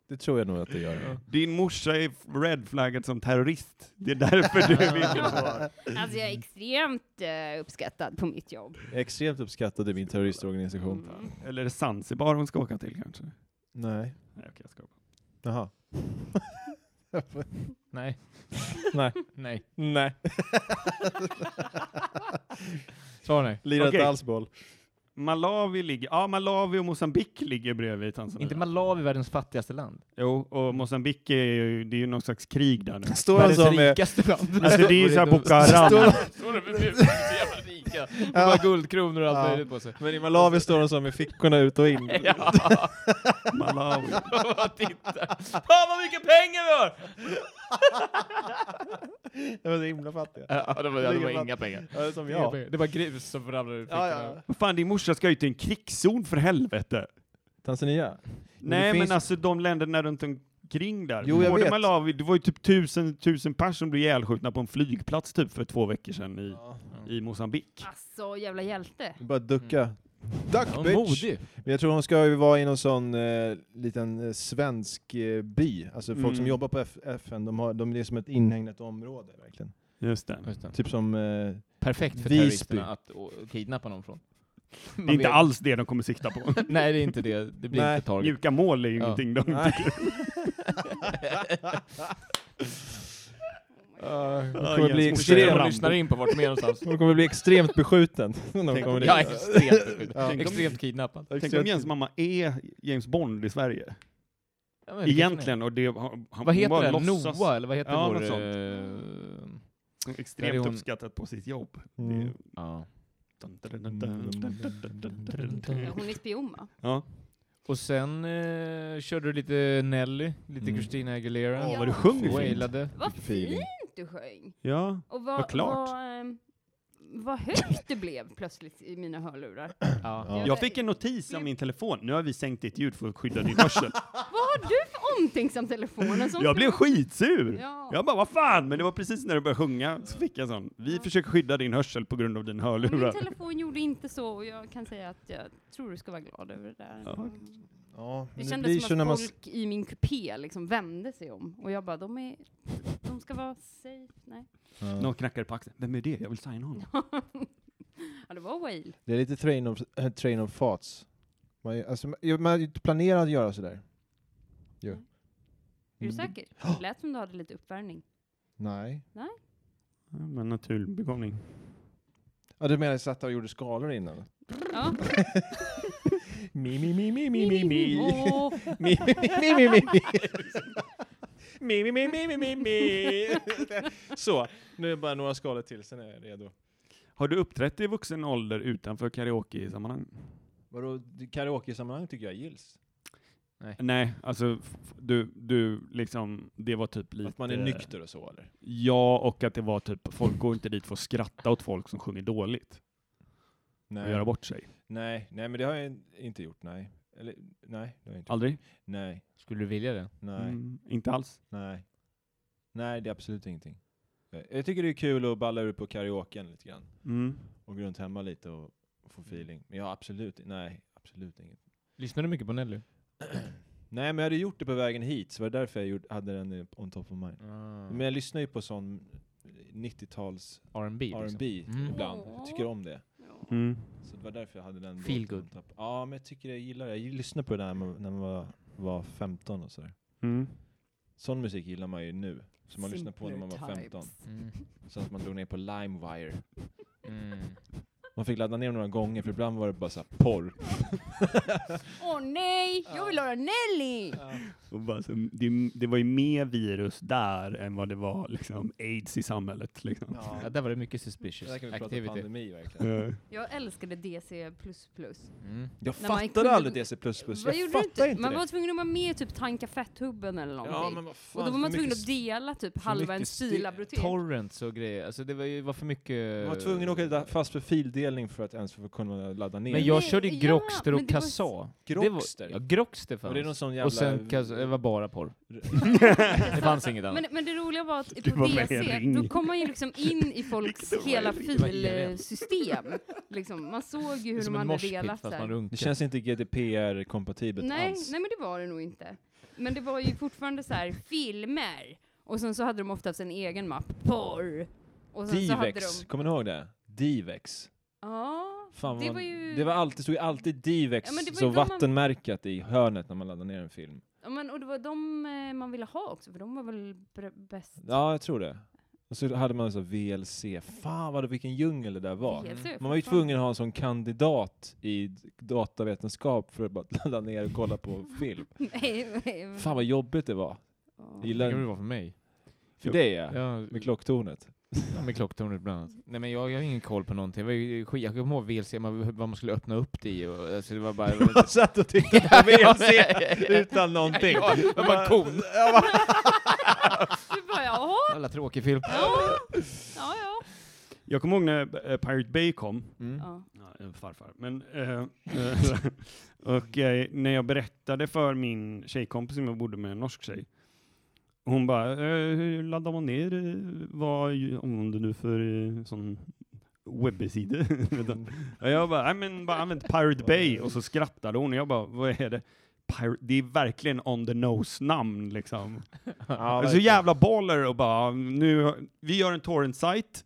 D: Det tror jag nog att det gör.
B: Din morsa är redflaggad som terrorist. Det är därför du vill vara.
C: Alltså jag är extremt eh, uppskattad på mitt jobb.
D: Jag är extremt uppskattad i min terroristorganisation.
C: Mm.
B: Eller är det Zanzibar hon ska åka till kanske? Nej,
D: Nej.
B: okej, jag skojar.
D: Jaha.
A: Nej.
D: Nej.
A: Nej.
D: Nej.
A: Svar nej.
D: Lirar
B: Okej.
D: inte alls boll.
B: Malawi ligger... Ja, Malawi och Mozambique ligger bredvid Tanzania.
A: Inte Malawi världens fattigaste land?
B: jo, och Mozambique är ju... Det är ju någon slags krig där nu.
D: Står han som... eh,
A: rikaste land?
B: Alltså det är ju såhär Boko Haram.
D: Står,
A: Står det för så jävla rika? De har guldkronor och allt
D: Ja.
A: möjligt på sig.
D: men i Malawi står han som med fickorna ut och in.
A: Ja,
B: Malawi.
A: vad titta! Fan vad mycket pengar vi har!
D: De var så himla fattiga.
A: Ja, det var, ja, det var inga pengar.
D: Ja, det är som
A: Inga
D: jag.
A: pengar. Det var grus som ramlade ur fickorna.
D: Ja, ja.
B: Vad fan, din morsa ska ju till en krigszon för helvete.
D: Tanzania?
B: Nej,
D: det
B: men
D: finns-
B: alltså de länderna runt omkring där.
D: Jo, jag
B: Både
D: vet.
B: Malawi, det var ju typ tusen, tusen personer som blev ihjälskjutna på en flygplats typ för två veckor sedan i, i Mozambique.
C: Alltså jävla hjälte.
D: Bara ducka.
A: Ja,
D: Duck bitch!
A: modig.
D: Men jag tror hon ska ju vara i någon sån eh, liten eh, svensk eh, by. Alltså folk som
B: Mm.
D: jobbar på F- FN, de, har, de är som ett inhägnat område verkligen.
B: Just det.
A: Just det.
D: Typ som... Eh,
A: Perfekt för
D: Visby.
A: terroristerna att å, kidnappa någon från. Man
B: Det är inte
A: vet-
B: alls det de kommer sikta på.
A: Nej, det är inte det. Det blir
D: Nej.
A: inte target.
B: Mjuka mål är ju
A: Ja.
B: ingenting de
D: Nej.
B: tycker.
D: hon
B: Ja,
D: kommer
B: Jens
D: bli
B: morsa
A: Ser
B: är Rambo.
A: de
D: extremt...
A: lyssnar in på vart de är någonstans.
D: Hon kommer bli extremt beskjuten. när hon
B: Tänk
D: kommer
B: om-
D: dit.
A: Ja, extremt,
D: Ja.
A: extremt kidnappad.
B: Tänk om Jens mamma är James Bond i Sverige.
A: Ja, men det kanske
B: Egentligen. Och det, han, han-
A: Vad
B: hon
A: heter
B: bara
A: den?
B: låtsas.
A: Noah, eller vad heter
B: Ja,
A: vår...
B: något sånt.
A: eh, Där är
B: Extremt
A: hon-
B: uppskattat på sitt jobb.
D: Mm.
B: Det är-
A: ja. Mm.
C: Hon är spion va?
B: Ja.
A: Och sen eh, körde du lite Nelly, lite
D: Mm.
A: Christina Aguilera.
B: Åh,
C: Ja.
B: vad du sjunger fint.
A: Wailade.
C: Vad
D: Vilken feeling.
C: fint du sjöng!
B: Ja.
C: Och vad,
B: Vad klart.
C: Vad, ehm, vad högt det blev plötsligt i mina hörlurar.
A: Ja.
D: Ja.
B: Jag fick en notis av min telefon. Nu har vi sänkt ditt ljud för att skydda din hörsel.
C: Vad har du för omtänksam telefonen som
B: Jag blev skitsur!
C: Ja.
B: Jag bara, vad fan! Men det var precis när du började sjunga så fick jag sån. Vi
C: Ja.
B: försöker skydda din hörsel på grund av din
C: Men Min
B: hörlurar.
C: telefon gjorde inte så och jag kan säga att jag tror du ska vara glad över det där.
B: Ja.
C: Mm.
D: Ja,
C: Det
D: men det blir
C: kändes
D: så
C: som
D: när
C: att
D: man...
C: folk i min kupé liksom vände sig om och jag bara, de, är, de ska vara safe. Nej.
B: Någon knackade på axeln. Vem är det? Jag vill signa honom.
C: Ja, det var Whale.
D: Det är lite train of, eh, train of thoughts. Man, är- alltså, man man är ju inte planerad att göra sådär. Jo.
C: Är Mm. du
D: Mm.
C: säker? Det lät som du hade lite uppvärmning.
D: Nej.
B: Men naturbegåvning.
D: Ja, du menar jag satt där och gjorde skalor innan?
C: Ja.
D: Mi, mi, mi, mi, mi, mi, mi.
C: Åh,
D: Mi, mi, mi, mi, mi, mi. Mi, mi, mi, mi, mi, mi. Så, nu är det bara några skalor till, sen är jag redo.
B: Har du uppträtt i vuxen ålder utanför karaoke-sammanhang?
D: Vadå, karaoke-sammanhang tycker jag gills.
B: Nej, alltså f- du, du liksom, det var typ lite...
D: Att man är nykter och så eller?
B: Ja, och att det var typ, folk går inte dit för att skratta åt folk som sjunger dåligt och göra bort sig.
D: Nej, nej men det har jag inte gjort, nej. Eller, nej, det har jag inte gjort.
B: Aldrig?
D: Nej,
A: Skulle du vilja det?
D: nej,
B: Mm, inte alls.
D: nej. Nej, det är absolut ingenting. Eh, Jag tycker det är kul att balla ur på karaoken lite grann.
B: Mm.
D: Och gå runt hemma lite och få feeling. Men jag har absolut, nej, absolut inget.
A: Lyssnar du mycket på Nelly?
D: Nej, men jag hade gjort det på vägen hit, så var det därför jag gjorde, hade den eh, on top of mind. Men jag lyssnar ju på sån 90-tals
A: R&B liksom.
D: R&B
A: Mm.
D: ibland. Jag tycker om det.
C: ja.
B: Mm.
D: Så det var därför jag hade den.
A: Feel
D: låten
A: good.
D: on top. Ja, men jag tycker jag gillar det. Jag lyssnade på det där när man- när man var, var 15 och sådär.
B: Mm.
D: Sån musik gillar man ju nu, som
A: liksom?
D: man lyssnade på när man var
C: Simpler
D: 15.
C: times.
A: Mm.
D: Sen att man drog ner på LimeWire.
A: Mm.
D: Och Man fick ladda ner några gånger för ibland var det bara så här porr.
C: Åh nej, jag vill höra Nelly!
B: Och bara, så, det, det var ju mer virus där än vad det var liksom, aids i samhället. Liksom.
A: Ja, där var det mycket suspicious
D: Där kan vi prata
A: activity.
D: pandemi verkligen.
B: Eh,
C: Jag älskade DC++.
A: Mm.
D: Jag
C: När man
D: fattade
C: kunde-
D: aldrig DC++. Jag
C: Vad gjorde du
D: fattar
C: inte?
D: inte,
C: man
D: det.
C: var tvungen att vara med i typ Tanka Fetthubben eller någonting.
D: Ja, men vad fan,
C: och då var man
D: för
C: tvungen
D: mycket
C: att dela typ
D: för
C: halva
D: mycket
C: en
D: sti-
C: filabibliotek.
A: Torrents och grejer, alltså det var ju var för mycket...
D: Man var tvungen att åka där fast för fildelning för att ens få kunna ladda ner.
A: Men jag
C: Nej,
A: körde ju
C: ja,
A: Grokster
C: men
A: och
C: det var-
A: Kazaa.
D: Grokster?
A: Det var, ja, Grokster
D: och
A: fanns.
D: det är någon sån jävla...
A: och sen Kazaa, det var bara porr. det fanns inget annat.
C: Men, men det roliga var att
B: Du
C: på
B: var med i en
C: DC,
B: ring.
C: då kom man ju liksom in i folks hela filsystem. Liksom, man såg ju
A: det är
C: hur
A: som
C: de
A: en
C: hade
A: moshpit
C: delat.
A: fast
C: så
A: man
C: här.
A: runkar.
D: Det känns inte GDPR-kompatibelt
C: Nej,
D: alls.
C: nej, men det var det nog inte. Men det var ju fortfarande så här filmer. Och sen så hade de ofta haft en egen mapp, porr. Och sen så hade de...
D: Divex, kommer ni ihåg det? Divex.
C: Ja,
D: Fan,
C: det
D: vad-
C: var ju...
D: Det var alltid, stod ju alltid Divex
C: Ja, men det var ju
D: så
C: då man-
D: vattenmärkat i hörnet när man laddade ner en film.
C: Ja, men, och det var de eh, man ville ha också, för de var väl br- bäst.
D: Ja, jag tror det. Och så hade man så VLC. Fan vad det, vilken djungel det där var. mm.
C: DLC
D: Man var ju
C: fortfarande.
D: tvungen att ha en sån kandidat i d- datavetenskap för att bara ladda ner och kolla på film.
C: nej, nej. men-
D: Fan vad jobbigt det var.
C: Ja.
A: Det
D: Jag
A: kan väl
D: Gillar
A: vara för mig.
D: för dig ja.
A: Ja,
D: Med klocktornet.
A: med klocktornet bland annat. Nej men jag, jag har ingen koll på någonting. Det var ju skit. Jag kommer ihåg VLC, man, vad man skulle öppna upp det i och alltså det var bara...
D: Man satt och tittade på VLC utan någonting.
A: Ja, men man kon.
C: Du bara, jaha,
A: Alla tråkig film.
C: ja, ja, ja.
B: Jag kommer ihåg när eh, Pirate Bay kom,
A: Mm.
C: ja.
B: Ja, en farfar. Men, eh, och eh, när jag berättade för min tjejkompis som jag bodde med, en norsk tjej, hon bara, eh, hur laddar man ner, eh, vad ju- använder du för eh, sån webbsida? Vet du? och jag bara, nej men bara använt Pirate Bay, och så skrattade hon, och jag bara, vad är det? Pirate, det är verkligen on the nose namn liksom.
D: Ja,
B: Det är så jävla baller och bara, nu, vi gör en torrent-sajt,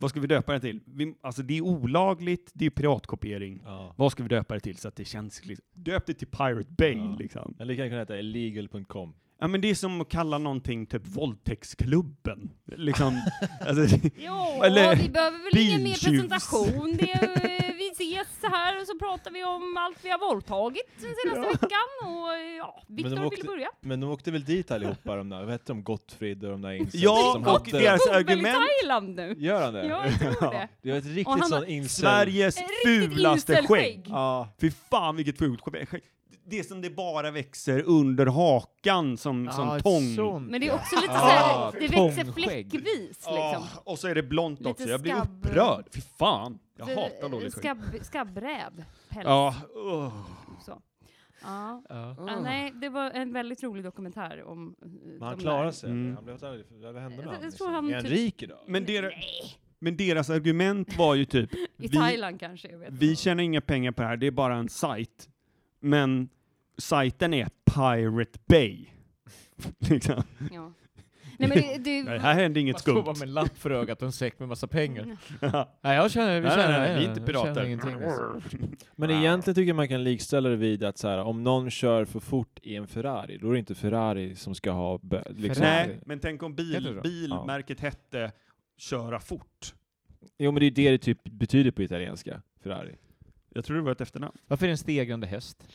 B: vad ska vi döpa den till? Vi, alltså det är olagligt, det är piratkopiering.
D: ja.
B: Vad ska vi döpa det till så att det känns liksom, döp det till Pirate Bay
D: Ja.
B: liksom.
D: Eller det kan kunna heta illegal.com.
B: Ja men det är som att kalla någonting typ våldtäktsklubben. Liksom, alltså, det-
C: Ja,
B: Eller
C: vi behöver väl ingen mer
B: biltjuvs.
C: presentation. Det, är, eh, vi ses här och så pratar vi om allt vi har våldtagit den senaste veckan. Och eh, ja, Viktor
D: åkte-
C: vill börja.
D: Men de åkte väl dit allihopa de där, vad hette de? Gottfrid och de där incels
B: ja,
D: som
B: och
D: hade...
B: deras
C: Bor väl i
B: argument,
C: Thailand nu?
D: Gör han det?
C: Ja, jag tror det.
D: Det var ett
C: Och han
D: riktigt
C: var-
D: sånt incel...
B: Sveriges
C: Ett riktigt
B: fulaste
C: incelskägg.
B: skägg.
D: Ja.
B: Fy fan vilket fult skägg. Det är som det bara växer under hakan som, som tång.
C: Men det är också lite
A: Ah,
C: såhär, det växer
A: tångskägg.
C: fläckvis liksom.
B: Ah, och så är det blont
C: Lite Alltså,
B: också, jag blir
C: skabb.
B: upprörd. Fy fan, jag
C: Det-
B: hatar dåligt skägg.
C: skabb, Skabbräv, päls.
B: Ja, oh.
C: Så. Ja.
A: Ja.
C: Ja, nej, det var en väldigt rolig dokumentär om... eh,
D: Men han
C: de
D: klarade
C: där.
D: sig.
B: Mm.
D: Han blev, vad hände med
C: Jag- jag
D: honom? Liksom.
C: tror han
D: är han
C: typ-
D: rik idag?
B: men, deras,
C: Nej,
B: men deras argument var ju typ,
C: i
B: Vi-
C: Thailand kanske, jag vet inte.
B: vi tjänar inga pengar på det här, det är bara en sajt. Men sajten är Pirate Bay. liksom.
C: Ja. Nej, men det, det,
B: Nej, Här händer inget
A: Man står bara
B: skumt.
A: med en lapp för ögat och en säck med massa pengar.
C: Mm.
A: Nej, jag känner, vi
B: Nej,
A: känner,
B: nej, nej, vi är
A: jag
B: inte pirater.
A: känner ingenting, alltså.
D: Men egentligen tycker jag man kan likställa det vid att så här, om någon kör för fort i en Ferrari, då är det inte Ferrari som ska ha... bö- Liksom.
B: Nej, men tänk om
A: Heter det
B: bil,
A: så?
B: bilmärket hette Köra fort.
D: Jo men det är ju det det typ betyder på italienska, Ferrari.
B: Jag tror det var ett efternamn.
A: Varför är det en stegrande häst?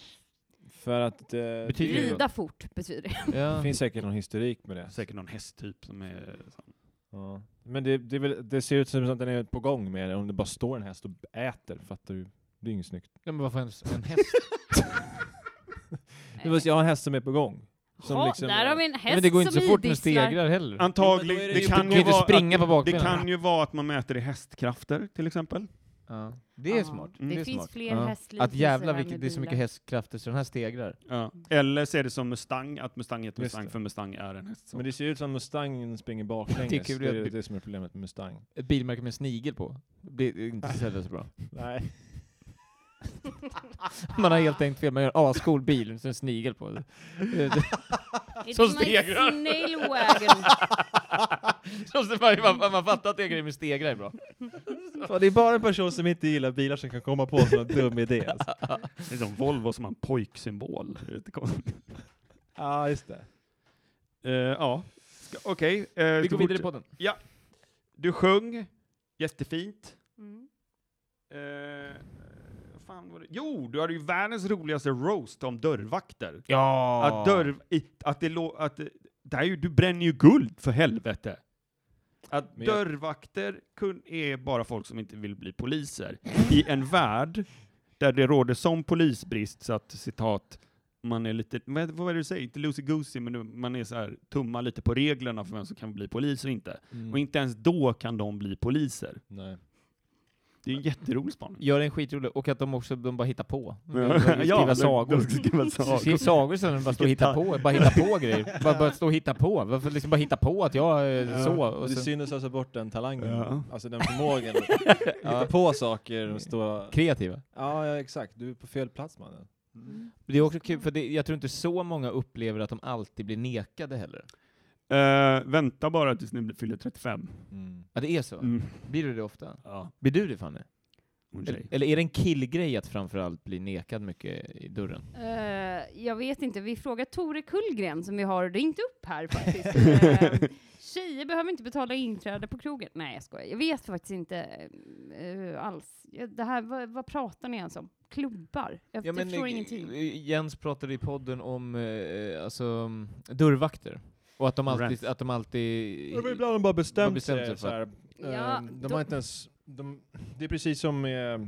D: För att eh,
A: Betyder
D: det,
C: Rida fort betyder det.
D: det
A: Ja.
D: finns säkert någon historik med det.
B: Säkert någon hästtyp som är...
D: Ja. Men det, det, är väl, det ser ut som att den är på gång med det, om det bara står en häst och äter, fattar du? Det är inget snyggt.
A: Ja, men varför en, en häst?
D: Det var, jag har en häst som är på gång. som
C: ja,
D: liksom-
C: där har vi en
A: Ja,
C: häst
A: men det går inte
C: som
A: så fort med
C: idisslar.
A: stegrar heller.
B: Typ. Antagligen,
D: Jo, men då är det
B: det
D: ju-
A: du
B: kan
A: kan ju
B: ju
A: inte
B: vara...
A: springa på
B: Det
A: bakbenen.
B: kan ju vara att man mäter i hästkrafter till exempel.
A: Ja. Det är
C: Ja,
A: smart.
C: Det,
B: Mm.
A: är
C: finns
A: smart.
C: fler
A: Ja.
C: hästliknelser
A: Att jävla
C: här
A: vilket,
C: med
A: det är så mycket
C: bilar.
A: hästkrafter så den här stegrar.
B: Eller så är det som Mustang, att Mustang heter
D: Just
B: Mustang
D: det.
B: för Mustang är en häst.
D: Men det ser ut som Mustangen springer
A: Tycker
D: baklänges.
A: du
D: Det är
A: att-
D: det, det som är problemet med Mustang.
A: Ett bilmärke med en snigel på. Det blir inte sällan så bra.
D: Nej.
A: Man har helt enkelt fel, man gör en ascool bil med en snigel på.
C: It's
A: som
C: my
A: stegrar.
C: snail wagon.
A: Så man, man, man fattar att det är grejer med stegrar är bra.
D: det är bara en person som inte gillar bilar som kan komma på en sån dum idé. Alltså.
B: Det är som Volvo som har en pojksymbol. Det är lite konstigt.
D: Ja, just det.
B: Eh, ja, Ska- okej. eh,
A: Vi
B: ska
A: går vidare
B: fortsätta.
A: på den.
B: Du sjöng jättefint.
C: Mm.
B: Eh, fan var det? Jo, du hade ju världens roligaste roast om dörrvakter.
A: Ja!
B: Att dörr... I, att det lå... Att, det- det här är ju, du bränner ju guld, för helvete! Att
D: Men jag-
B: dörrvakter kun, är bara folk som inte vill bli poliser. I en värld där det råder sån polisbrist så att, citat, man är lite, vad, vad är det du säger? Inte loosey goosey, men du- man är så här, tummar lite på reglerna för vem som kan bli polis och inte.
D: Mm.
B: Och inte ens då kan de bli poliser.
D: Nej.
B: Det är en jätterolig spaning.
A: Gör en skitrolig, och att de också de bara hittar på. De
B: Ja.
A: bara skriver
B: Ja, de-
A: sagor.
B: de skriver sagor.
A: Skriver sagor istället för att bara stå och hitta på, bara hitta på grejer. Bara, bara stå och hitta på. Varför liksom bara hitta på att jag eh,
B: Ja.
A: så?
D: Och
A: Och
D: det
A: så
D: synes alltså bort den talangen.
B: Ja.
D: Alltså den förmågan att hitta på saker och stå...
A: kreativa.
D: Ja, ja, exakt. Du är på fel plats mannen.
A: Det är också kul, för det, jag tror inte så många upplever att de alltid blir nekade heller.
B: Eh, vänta bara tills ni blir- fyller 35.
A: Ja, det är så.
B: Mm.
A: Blir du det ofta?
B: Ja,
A: Blir du det Fanny?
B: hon
A: Eller,
B: tjej.
A: eller är det en killgrej att framförallt bli nekad mycket i dörren?
C: Eh, jag vet inte, vi frågar Tore Kullgren som vi har ringt upp här faktiskt. Eh, tjejer behöver inte betala inträde på krogen. Nej, jag skojar. Jag vet faktiskt inte eh, alls. Jag- Det här, vad, vad pratar ni ens om? Klubbar? Jag jag förstår typ
D: eh,
C: ingenting.
A: Jens pratade i podden om eh, alltså, dörrvakter. Och att de
B: alltid-
A: alltid...
B: Rent.
A: Att de alltid
D: De har ibland bara bestämt,
A: Bara bestämt sig
D: sig
A: för.
D: så här.
C: Ja,
D: Ehm, de
C: då-
D: har inte ens... De, det är precis som med,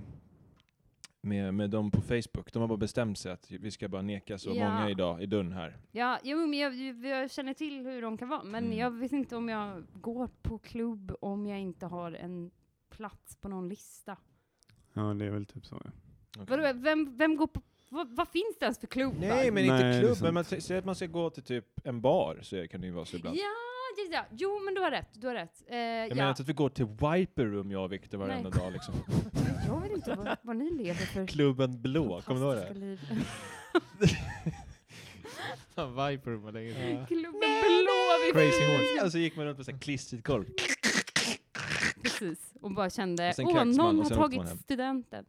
D: med, med de på Facebook. De har bara bestämt sig att vi ska bara neka så
C: Ja.
D: många idag i dörren här.
C: Ja, jo, men jag, jag känner till hur de kan vara, men
D: Mm.
C: jag vet inte om jag går på klubb om jag inte har en plats på någon lista.
B: Ja, det är väl typ så. Ja.
C: Vadå, vem, vem går på... Vad, vad finns det ens för klubbar?
D: Nej, men
B: Nej, det är
D: inte klubb.
B: sant.
D: Men man sä- säger att man ska gå till typ en bar så kan det ju vara så
C: Ja,
D: ibland.
C: ja, ja, jo men du har rätt, du har rätt. Eh,
D: Jag
C: ja.
D: menar inte att vi går till Wiper Room jag och Viktor varenda
C: Nej.
D: dag liksom.
C: jag vet inte vad, vad ni lever för
D: Klubben Blå, kommer du ihåg
C: fantastiska
D: det?
C: liv.
A: Viper var länge
C: Klubben Blå, vi
A: Crazy Horse.
D: Och så Alltså, gick man runt med så här klistrigt golv.
C: Precis, och bara kände,
D: Och sen
C: åh
D: kräks man,
C: någon
D: och
C: har
D: sen åker man
C: tagit
D: hem."
C: studenten.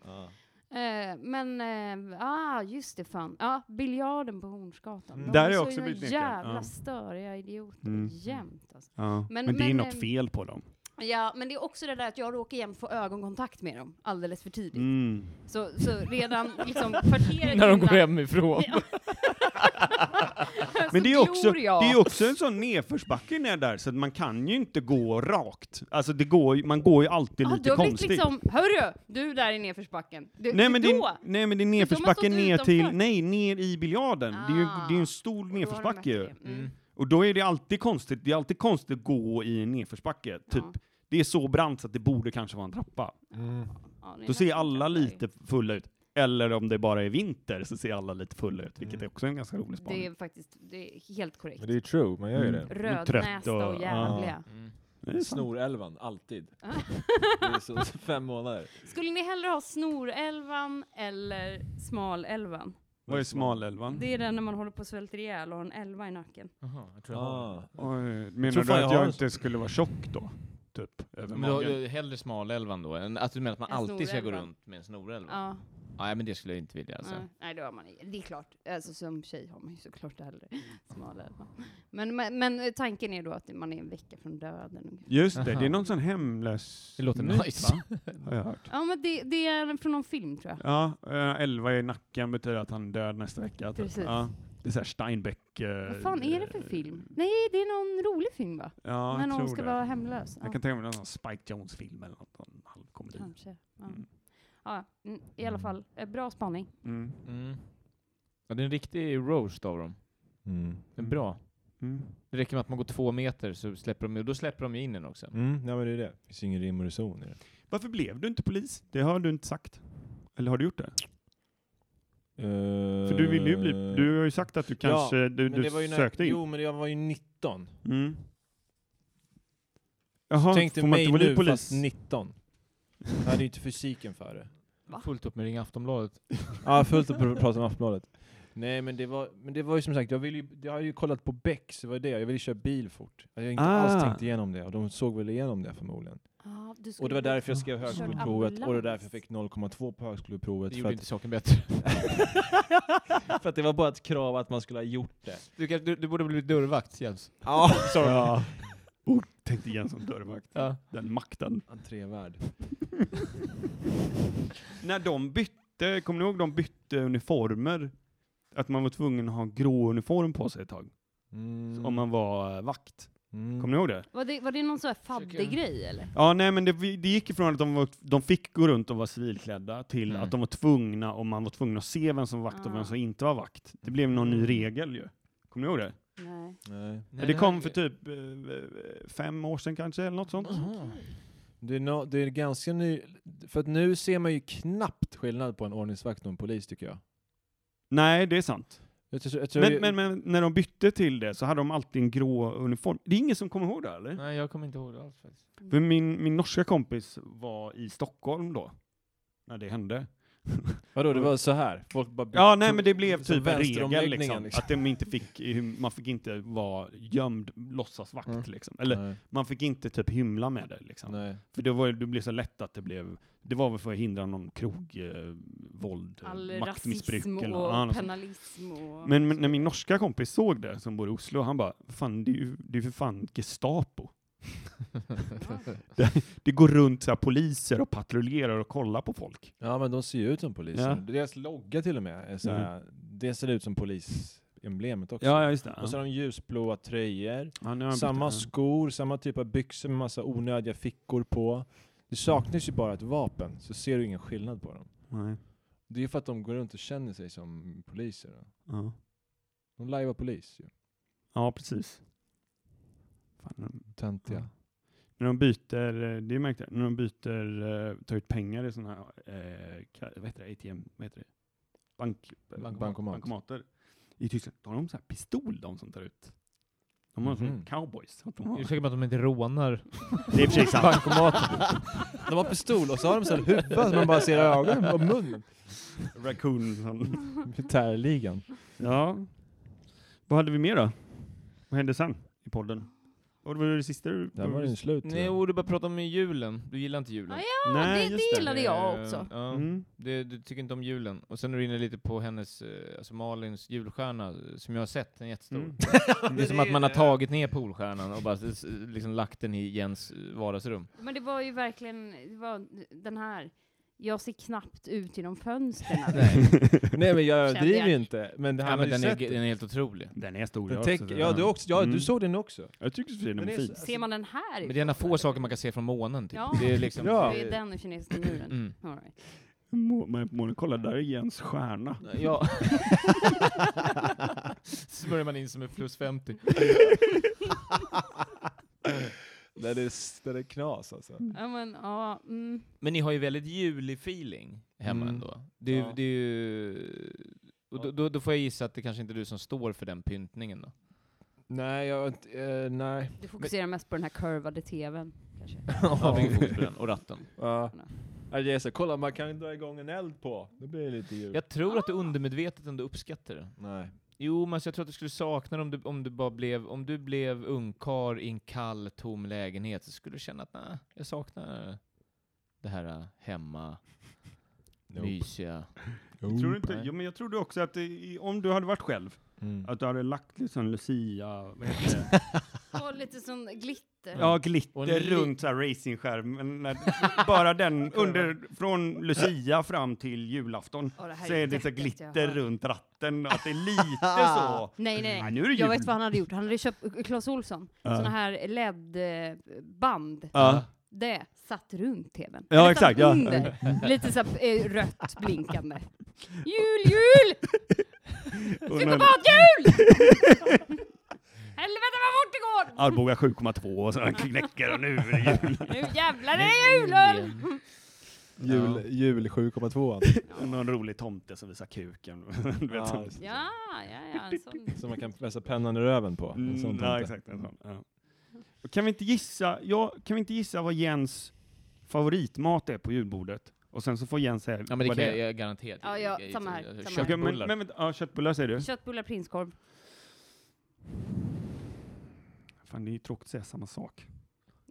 C: Eh, men, eh, ah just det fan, ja biljarden på Hornsgatan.
B: Mm.
C: De
B: Där
C: är
B: har jag
C: så
B: också blivit nekad.
C: jävla
B: Ja.
C: störiga idioter
B: Mm.
C: jämt alltså. Men-
B: Men, det är
C: men,
B: något
C: ehm,
B: fel på dem.
C: Ja, men det är också det där att jag råkar jämt få ögonkontakt med dem alldeles för tidigt.
B: Mm.
C: Så, så redan liksom kvarteret
A: När de går
C: innan-
A: hemifrån.
C: Ja. Så Alltså,
B: Men det är, också,
C: glor
B: det
C: jag.
B: är också en sån nedförsbacke ner där, så att man kan ju inte gå rakt. Alltså, det går, ju- man går ju alltid
C: Ja,
B: lite
C: du har blivit
B: konstigt.
C: liksom, hörru, du där i nedförsbacken. Du,
B: Nej men, det
C: då,
B: är, nej men det är
C: har
B: nedförsbacke
C: stått
B: ner
C: utanför.
B: till, nej ner i biljarden. Det är ju det är ju en
C: Ah.
B: stor
C: då har de
B: nedförsbacke ju.
C: mött det. Mm.
B: Och då är det alltid konstigt, det är alltid konstigt att gå i en nedförsbacke, typ.
C: Ja.
B: Det är så brant så att det borde kanske vara en trappa.
C: Ja, ni
B: Då
C: har
B: ser
C: mött
B: alla
C: det där.
B: lite fulla ut. Eller om det bara är vinter så ser alla lite fulla ut,
A: Mm.
B: vilket är också en ganska rolig
C: Det
B: spaning.
C: är faktiskt, det är helt korrekt.
D: Men det är ju true, man gör ju
B: Mm.
D: det.
B: trött
C: Rödnästa
B: och-
C: och, jävliga.
A: Mm.
B: Det är sant.
D: Snorälvan, alltid. Det är så, så fem månader.
C: Skulle ni hellre ha snorälvan eller smalälvan?
B: Vad är smalälvan?
C: Det är den när man håller på och svälter ihjäl och har en älva i nacken.
A: Jaha, jag tror jag har
D: Ah.
B: Oj, menar
D: tror
B: du
D: fan
B: att
D: jag
B: jag,
D: har en
B: inte skulle vara tjock då? Typ, över
A: det. men då,
B: magen?
A: då, hellre smalälvan då, än att du menar att man
C: En
A: alltid ska gå
C: snorälva.
A: runt med en snorälva?
B: Mm.
A: Ah, Ja.
C: Ja,
A: Nej, men det skulle jag inte vilja alltså.
C: ja. Nej, det har man Det är klart. Alltså, som tjej har man ju såklart hellre smalälvan. Men, men, men tanken är då att man är en vecka från döden. ungefär.
B: Just det, det
A: Aha.
B: är någon sån hemlös...
A: Det låter
B: myt,
A: nice.
B: va? Har jag hört.
C: Ja, men det, det är från någon film tror jag.
B: Ja, eh, elva i nacken betyder att han är död nästa vecka. typ.
C: Precis.
B: Ja, det är såhär Steinbeck... eh,
C: Vad fan är det för film? Nej, det är någon rolig film va?
B: Ja,
C: när
B: jag tror
C: någon ska
B: det.
C: vara hemlös. Ja,
B: Jag kan tänka mig någon sån Spike Jones-film eller något, någon halvkomedi.
C: kanske. Ja.
B: Mm.
C: Ja, mm, I alla fall, eh, bra spaning.
B: Mm.
A: Mm. Ja, det är en riktig roast av dem.
D: Mm.
A: Det är bra.
B: Mm.
A: Det räcker med att man går två meter så släpper de ju, och då släpper de ju in den också.
D: Mm, ja men det är det. Det finns ingen rim och reson i det.
B: Varför blev du inte polis? Det har du inte sagt. Eller har du gjort det? För du ville ju
D: Eh,
B: bli... Du har ju sagt att du kanske... du
D: men
B: du
D: det var ju när,
B: sökte in.
D: Jo, men jag var ju 19.
B: Mm. Jaha,
D: Tänk dig
B: får man
D: mig
B: inte bli
D: nu
B: polis?
D: fast 19. Jag hade ju inte fysiken för det.
C: Va?
A: Fullt upp med Ring Aftonbladet.
D: Ja, fullt upp att prata om Aftonbladet. Nej, men det, var, men det var ju som sagt, jag, ville ju, jag hade ju kollat på Beck, så det var det. Jag ville köra bil fort. Jag hade inte
B: Ah.
D: alls tänkt igenom det, och de såg väl igenom det förmodligen.
C: Ja, du skulle
D: Och det var
C: bli-
D: därför jag skrev
C: Kört
D: högskoleprovet, och det var
C: ambulans.
D: därför jag fick 0,2 på högskoleprovet.
A: Det
D: För
A: gjorde inte
D: att,
A: saken bättre.
D: för att det var bara ett krav att man skulle ha gjort det.
A: Du, kan, du, du borde bli dörrvakt, Jens.
D: Ja,
B: Ja. Oh, tänkte Jensson dörrvakt.
A: Ja.
B: Den makten.
D: Entrévärd.
B: När de bytte, kommer ni ihåg de bytte uniformer? Att man var tvungen att ha grå uniform på sig ett tag.
D: Mm.
B: Om man var eh, vakt.
D: Mm.
B: Kommer ni ihåg det?
C: Var det, var det någon sån här faddig grej eller?
B: Ja, nej men det, det gick ifrån att de, var, de fick gå runt och vara civilklädda till
A: Mm.
B: att de var tvungna, och man var tvungen att se vem som var vakt och vem som inte var vakt. Det blev någon ny regel ju. Kommer ni ihåg det?
C: Nej.
D: Nej.
A: Mm. Nej,
B: det
A: här-
B: kom för typ eh, fem år sedan kanske, eller något sånt.
A: Aha.
D: Det, är nå- det är ganska ny... För att nu ser man ju knappt skillnad på en ordningsvakt och en polis tycker jag.
B: Nej, det är sant.
D: jag, tror, jag tror
B: Men, men, men när de bytte till det så hade de alltid en grå uniform. Det är ingen som kommer ihåg det, eller?
A: Nej, jag kommer inte ihåg det alls faktiskt.
B: För min, min norska kompis var i Stockholm då, när det hände.
D: Vadå, det var så här? Folk bara
B: Ja, nej men det blev
D: som
B: typ en regel
D: vänsteromläggningen,
B: liksom. Att de inte fick, man fick inte vara gömd låtsasvakt
D: Mm.
B: liksom. Eller
D: Nej,
B: man fick inte typ hymla med det liksom.
D: nej.
B: För det, var, det blev så lätt att det blev, det var väl för att hindra någon krogvåld, eh, våld, eh,
C: All
B: maktmissbruk
C: rasism
B: eller
C: och
B: något annat. sånt.
C: penalism och...
B: Men, men när min norska kompis såg det, som bor i Oslo, han bara, fan det är ju det är för fan Gestapo. det, det går runt så här, poliser och patrullerar och kollar på folk.
D: Ja, men de ser ju ut som poliser.
B: Ja. Mm.
D: Deras logga till och med, är så här, det ser ut som polisemblemet också.
B: just det.
D: Och så har de ljusblåa tröjor,
B: Ja, nu har jag
D: samma
B: bytt-
D: skor, samma typ av byxor med massa onödiga fickor på. Det saknas ju bara ett vapen, så ser du ingen skillnad på dem.
B: Nej.
D: Det är för att de går runt och känner sig som poliser. Då.
B: Ja.
D: De lajvar polis ju.
B: ja, precis. Fan, när de-
D: Töntiga.
B: Ja. när de byter, eh, det märkte jag, när de byter, eh, tar ut pengar i sådana här, eh, ka- vad heter det, ATM, vad heter det? Bank,
D: Bankomat.
B: Bankomater. I Tyskland, då har de så här pistol de som tar ut. De har
D: Mhm.
B: mm cowboys. att De
A: Jag är
B: har.
A: säker på att de inte rånar.
B: Det är i och för sig sant.
D: Bankomaten. De har pistol och så har de så här huvud som man bara ser i ögonen och munnen.
B: Raccoon. Som.
D: Militärligan.
B: Ja. Vad hade vi mer då? Vad hände sen i podden? Vad var det sista du...
D: Där var den slut.
A: Nej, och du bara pratar om julen. Du gillar inte julen. Eh,
C: Ja, det- det
B: just
C: gillade jag också.
A: Ja,
B: Mm.
A: det, du tycker inte om julen. Och sen är du inne lite på hennes, eh, alltså Malins julstjärna, eh, som jag har sett, den är jättestor.
B: Mm.
A: Det är som att man har tagit ner Polstjärnan och bara s- liksom lagt den i Jens eh, vardagsrum.
C: Men det var ju verkligen, det var den här, jag ser knappt ut genom fönstren.
A: Nej,
D: Nej men jag
C: Kände
D: överdriver ju
C: jag.
D: inte. Men det
A: ja,
D: här ja,
A: men
D: men
A: den, är,
D: sett
A: den är helt otrolig.
B: Den är stor.
D: den
B: jag
D: täcker-
B: också.
D: ja, du, också, ja
B: Mm.
D: du såg den också.
B: Jag tycker för sig den
D: Den
B: är
D: är
B: fin.
D: så-
C: Ser man den här
A: Men det är en av få saker man kan se från månen, typ.
C: Ja.
A: Det är liksom...
D: Ja.
C: Det är den och kinesiska muren.
A: Mm.
C: All right.
B: Må- men Månen, kolla där är Jens stjärna.
A: Ja. Smörjer man in som en plus 50.
D: Den är, den är knas alltså.
C: Ja, men, ja, mm.
A: Men ni har ju väldigt julig feeling hemma
D: Mm.
A: ändå. Det är, ju-
D: Ja.
A: det är ju... Och då, då, då får jag gissa att det kanske inte är du som står för den pyntningen då.
D: Nej, jag, eh, nej.
C: Du fokuserar mest på den här kurvade tvn. Kanske.
A: Ja, vi får den och ratten.
D: Ja. Ja, det är så, kolla man kan dra igång en eld på. Det blir lite jul.
A: Jag tror att du undermedvetet ändå uppskattar det.
D: Nej.
A: Jo, men så jag tror att du skulle sakna det om du, om du bara blev, om du blev ungkar i en kall, tom lägenhet så skulle du känna att nej, jag saknar det här äh, hemma, mysiga.
B: Jag tror inte,
A: Nej.
B: jo, men jag trodde också att det, i- om du hade varit själv,
D: Mm.
B: att du hade lagt liksom Lucia, vad heter det?
C: Och lite sån glitter.
B: ja,
A: Och
B: glitter
A: en li-
B: runt så här racingskärmen. när- Bara den, under, från Lucia fram till julafton,
C: Åh, det här
B: så
C: är
B: är det så
C: vettigt,
B: glitter
C: jaha.
B: runt ratten. Att det är lite så.
C: Nej,
B: Nej,
C: nej,
B: nu är det
C: jag
B: jul.
C: vet vad han hade gjort. Han hade köpt, Clas Ohlson,
B: Mm. Ja.
C: såna här LED-band.
B: Ja.
C: Det satt runt tvn.
B: Ja,
C: Nästan
B: exakt, ja.
C: Under. Lite så här, eh, rött blinkande. Jul, jul! Psykopathjul! Helvete vad fort det går!
B: Arboga 7,2 och så här knäcker och nu är det jul.
C: Nu jävlar är det julen!
D: Jul,
A: Ja.
D: jul 7,2
B: Och Någon rolig tomte som visar kuken. Du vet,
D: Ja,
B: sån.
D: just det.
C: Ja, ja, ja, alltså. en sån.
D: som man kan vässa pennan i röven på. En sån
B: Mm,
D: tomte.
B: ja, exakt. En sån. Ja. Och Kan vi inte gissa, ja, kan vi inte gissa vad Jens favoritmat är på julbordet? Och sen så får Jens säga
A: Ja, men det
B: vad
A: kan jag,
B: det är.
A: jag garanterat.
C: Ja, ja, samma här, samma här.
B: Okej, men,
A: Köttbullar.
B: men, vänta, ja, köttbullar säger du?
C: Köttbullar, prinskorv.
B: Fan, det är ju tråkigt att säga samma sak.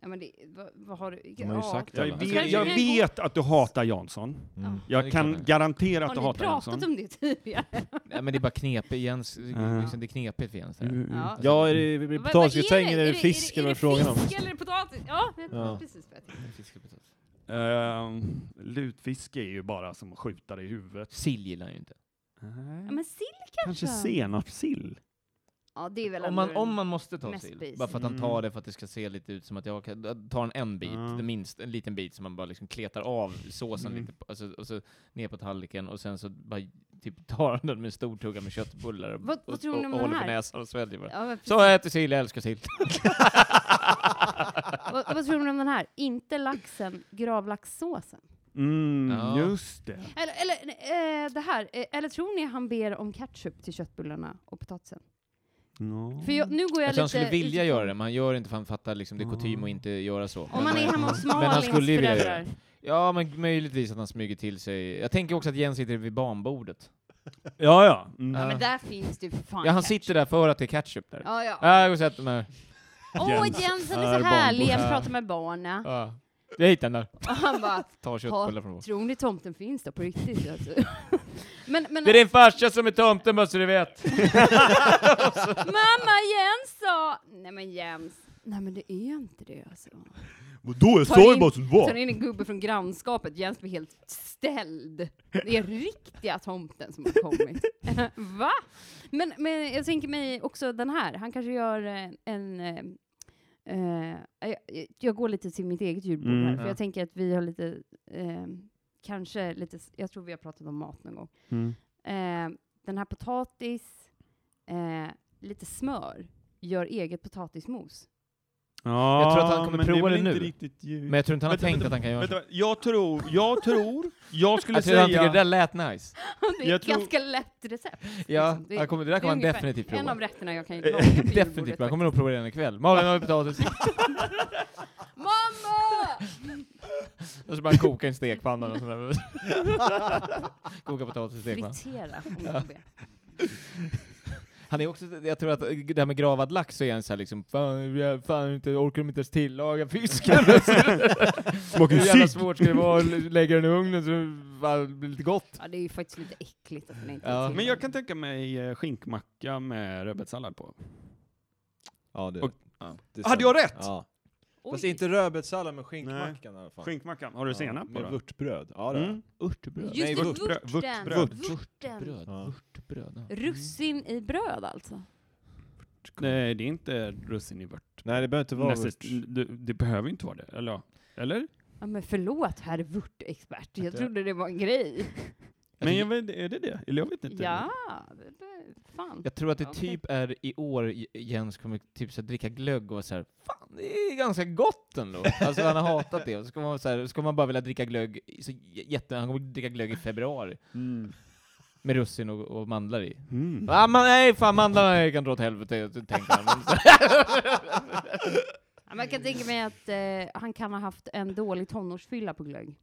C: Ja, men det, vad, vad har du?
E: De har ju sagt
B: Jag,
E: alla.
C: Ska
B: vet,
C: vi-
B: jag
C: ska vi
B: vet att du hatar Jansson.
E: Mm.
A: det
B: Jag
A: är
B: kan
A: klart.
B: garantera att
C: har
B: du
C: ni
B: hatar
C: pratat
B: Jansson.
C: om det tidigare?
A: Nej, men det är bara knepigt. Jens,
B: Ja.
A: liksom, det är knepigt för Jens. det
B: Mm.
A: här.
C: Ja.
E: Mm. Ja, är det- är det
C: Vad- vad
E: potatisgratäng eller är det fisk
C: är
E: eller vad
C: det
E: är frågan om?
C: Fisk eller potatis? Ja,
E: Ja.
C: precis. vad jag tänkte.
A: Fiskepotatis.
B: Ehm, lutfiske är ju bara som att skjuta dig i huvudet.
A: Sill gillar han ju inte.
C: Ja, men sill kanske?
B: Kanske senapssill?
C: Ja, det är väl
A: Om
C: ändå
A: man,
C: den-
A: om man måste ta
C: mest
A: sill,
C: basic.
A: bara för att han
B: Mm.
A: tar det för att det ska se lite ut som att jag kan, tar han en bit,
B: Ja.
A: det minst, en liten bit som man bara liksom kletar av såsen
B: Mm.
A: lite, på- alltså, och så ner på tallriken och sen så bara typ tar han den med en stor tugga med köttbullar och,
C: Vad- vad
A: och,
C: tror ni
A: och,
C: om
A: och
C: den
A: håller på
C: här?
A: näsan och sväljer bara.
C: Ja, men precis.
A: Så jag äter sill, jag älskar sill.
C: vad, vad tror du om den här? Inte laxen, gravlaxsåsen.
B: Mm,
A: Ja.
B: just det.
C: Eller, eller eh, det här, eh, eller tror ni han ber om ketchup till köttbullarna och potatisen?
B: Ja.
C: För jag, nu går
A: Jag
C: jag, lite...
A: tror han skulle vilja
C: utifrån.
A: göra det, men han gör inte för han fattar liksom, det är kutym
B: Mm.
A: att inte göra så.
C: Om man är hemma hos
A: Men han
C: Malins
A: skulle ju vilja göra
C: föräldrar.
A: det. Ja, men möjligtvis att han smyger till sig. Jag tänker också att Jens sitter vid barnbordet.
B: Ja, ja. Mm.
C: Ja, men där finns det ju för fan
A: Ja, han
C: ketchup.
A: sitter där för att det är ketchup där.
C: Ja, ja.
A: Ja, jag går och sätter mig här.
C: Åh,
B: Jens.
C: Jens, han är
A: Här
C: så
A: är
C: härlig.
A: barnbord.
C: Han
A: Ja.
C: pratar med barnen.
A: Ja. Jag hittar den där.
C: Och han bara,
A: Ta köttbullar från bort.
C: tror ni tomten finns då på riktigt? Alltså. Men, men
A: Det är din farsa som är tomten bara så du vet.
C: mamma, Jens sa... Nej men Jens. Nej men det är inte det alltså.
B: Vadå, jag
C: Tar in-
B: som
C: Sen är det en gubbe från grannskapet. Jens blir helt ställd. Det är riktiga tomten som har kommit. Va? Men, men jag tänker mig också den här. Han kanske gör eh, en... eh, eh, jag, jag går lite till mitt eget julbord
B: Mm,
C: här, för
A: ja.
C: jag tänker att vi har lite... eh, kanske lite... s- Jag tror vi har pratat om mat någon gång.
B: Mm.
C: Eh, den här potatis, eh, lite smör, gör eget potatismos.
B: Ja,
A: Jag tror att han kommer
B: men är
A: prova
B: väl
A: det
B: inte
A: nu.
B: Riktigt ju...
A: Men jag tror inte han har
B: Vänta,
A: tänkt
B: vänta,
A: att han kan göra det.
B: Vänta, jag tror, jag tror, jag skulle
A: Alltså, Jag tror han tycker det där
B: säga...
A: lät nice.
C: det är
B: Jag
C: ett
B: tror-
C: ganska lätt recept.
A: Ja,
C: liksom. Det-
A: han kommer, det där
C: det är
A: kommer han
C: ungefär
A: definitivt
C: En
A: prova.
C: av rätterna jag kan
B: Eh,
C: laga på julbordet
A: Definitivt, man
C: faktiskt.
A: kommer nog prova det den ikväll. Malin har potatis.
C: Mamma!
A: Och så bara koka i en stekpanna och sådär. Koka potatis i stekpanna.
C: Fritera, om du får be.
A: Han är också, jag tror att det här med gravad lax så är han såhär liksom, fan, jag- fan inte, orkar de inte ens tillaga fisken?
B: Smakar
A: Hur jävla svårt ska det vara att lägga den i ugnen så det bara blir lite gott?
C: Ja, det är ju faktiskt lite äckligt att den inte
A: Ja.
C: är till.
B: Men jag kan tänka mig eh, skinkmacka med rödbetssallad på.
E: Ja, det,
B: Och-
E: ja. det
B: Hade jag rätt?
E: Ja.
C: Oj.
E: Fast inte rödbetssallad, men skinkmackan i alla fall.
B: Skinkmacka, har du senap på
E: Med
B: då?
E: vörtbröd. Ja, det har
B: Mm.
E: jag. Örtbröd.
C: Just
B: Nej,
C: det,
B: vörtbröd-
C: vörten.
B: vörtbröd.
C: Vörten.
A: Bröd,
E: Ja.
A: vörtbröd. ja.
C: Russin i bröd alltså.
B: Nej, det är inte russin i vört. Alltså,
E: Nej, det behöver inte vara
B: Nästan-
E: vört.
B: Det, det behöver inte vara det, eller? ja. Eller?
C: Ja, men förlåt herr vörtexpert, jag
A: det-
C: trodde det var en grej.
B: Men jag vet, är det det? Eller jag vet inte.
C: Ja, det, det, fan.
A: Jag tror att det
C: Okej.
A: typ är i år J- Jens kommer typ så här dricka glögg och så här, fan det är ganska gott ändå. Alltså han har hatat det. Och så kommer man, så här, så kommer man bara vilja dricka glögg, i- så j- jätte, han kommer dricka glögg i februari
B: Mm.
A: med russin och, och mandlar i.
B: Mm.
A: Ah, man, nej fan mandlarna kan dra åt helvete, tänker han. Men så-
C: Ja, men jag kan tänka mig att eh, han kan ha haft en dålig tonårsfylla på glögg.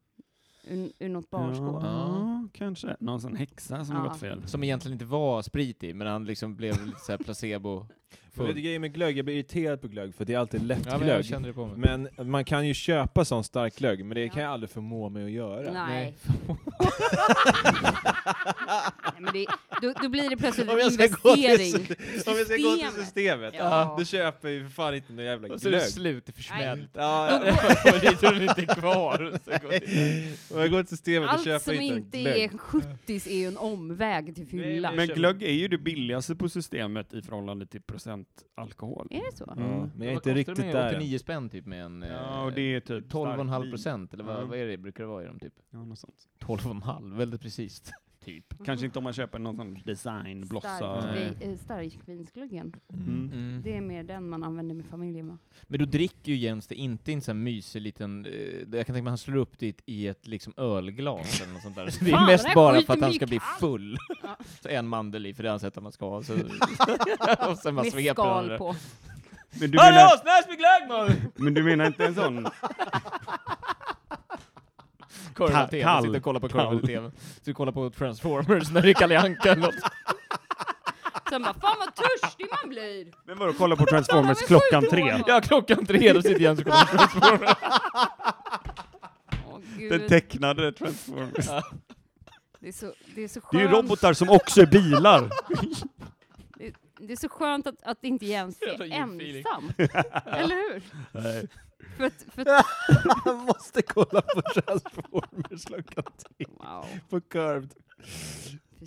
C: Ur, ur något barskåp.
B: Ja, kanske. Någon sån häxa som har
C: Ja.
B: gått fel.
A: Som egentligen inte var sprit i, men han liksom blev lite så här placebo
E: För lite
A: full.
E: grejer med glögg, jag blir irriterad på glögg för det är alltid lätt
A: Ja, men jag
E: glögg.
A: kände det på mig.
E: Men man kan ju köpa sån stark glögg, men det kan jag aldrig förmå mig att göra.
C: Nej. Nej, men det, då, då blir det plötsligt en
E: Om jag ska gå till
C: investering.
E: Om vi ska gå till
C: Systemet.
E: systemet,
C: Ja.
E: då köper jag ju för fan inte någon jävla
A: Och så är det
E: glögg.
A: slut, det är försmält.
E: Ja,
C: Då
E: ja.
C: går,
A: Det är inte kvar. Så går det-
E: Om jag går till systemet och
C: allt
E: köper
C: som
E: inte
C: inte
E: en glögg.
C: är 70 är ju en omväg till fylla.
B: Men glögg är ju det billigaste på systemet i förhållande till procent alkohol.
C: Är det så?
E: Ja,
B: Mm.
E: men jag är
A: Vad
E: inte
A: kostar de
E: riktigt där än.
A: 89 spänn typ med en...
B: Ja,
A: eh,
B: och det är typ
A: 12,5
B: stark vin.
A: procent, eller vad,
B: Ja.
A: vad är det brukar det vara i dem typ?
B: Ja, något sånt.
A: 12,5, väldigt precis. typ.
B: Kanske inte om man köper någon sån designblossa.
A: Stark.
C: Starkvin- eh, Starkvinsglöggen.
E: Mm.
C: Det är mer den man använder med familjen va?
A: Men då dricker ju Jens det inte i en sån här mysig liten... eh, jag kan tänka mig att han slår upp det i ett liksom ölglas eller något sånt där. Så det
C: Fan,
A: är
C: den
A: mest
C: här
A: bara för
C: skiten
A: att han
C: blir
A: ska bli
C: kall.
A: full.
C: Ja.
A: så en mandel i, för det har han sett att man ska ha. Så, och sen bara
C: Med
A: sveper han
C: skal
A: det.
C: på.
B: Men du
A: Hörru,
B: menar,
A: snäs med glögg man!
B: men du menar inte en sån?
A: Korv-tv,
B: Kall,
A: sitter och kollar på
B: kall.
A: korv-tv. Sitter och kollar på Transformers när det är Kalle Anka eller något.
C: Sen bara, fan vad törstig man blir!
B: Men vadå, kolla på
C: De är
B: Transformers
C: sjukt
B: klockan
C: råa.
B: tre?
A: Ja, klockan tre, då sitter Jens och kollar på Transformers.
C: Åh gud,
B: Den tecknade Transformers.
C: det, är så, det är så skönt.
B: Det är ju robotar som också är bilar.
C: Det, det är så skönt att, att inte Jens är
A: Jävla djurfeeling.
C: ensam. Eller hur?
B: Nej.
C: För att, för att,
E: Han måste kolla på Transformers klockan tre
C: wow.
E: på Curved.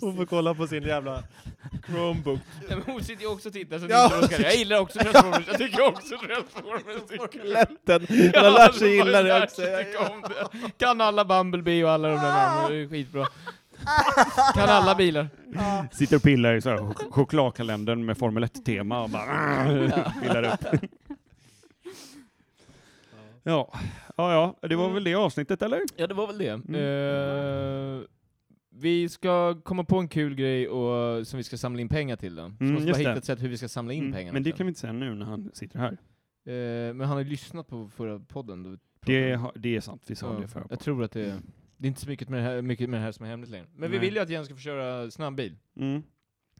E: Hon får
C: Precis.
E: kolla på sin jävla Chromebook.
A: Nej, men hon sitter ju också och tittar, så
E: Ja.
A: ja. Oskar. Jag gillar också Transformers, jag tycker också Transformers. Tycker jag.
E: Lätten. Han har lärt sig
A: Ja,
E: gilla
A: hon har
E: det
A: lärt
E: också.
A: sig tycka om det. Kan alla Bumblebee och alla de där namnen, det är skitbra. Kan alla bilar.
B: Sitter och pillar i så här chok- chokladkalendern med Formel 1-tema och bara pillar upp. Ja. Mm. ja, ja, det var väl det avsnittet eller?
A: Ja, det var väl det. Mm. Eh, vi ska komma på en kul grej och, som vi ska samla in pengar till. Då. Så
B: Mm,
A: måste vi
B: just
A: bara hitta
B: det.
A: ett sätt hur vi ska samla in
B: Mm,
A: pengarna.
B: Men det
A: sen.
B: kan vi inte säga nu när han sitter här.
A: Eh, men han har ju lyssnat på förra podden. Då vi pratade
B: Det,
A: om-
B: har- det är sant, vi sa
A: Ja,
B: det förra
A: Jag tror att det, det är inte så mycket med det här, mycket med det här som är hemligt längre. Men vi
B: Nej.
A: vill ju att Jens ska få köra snabbbil.
B: mm.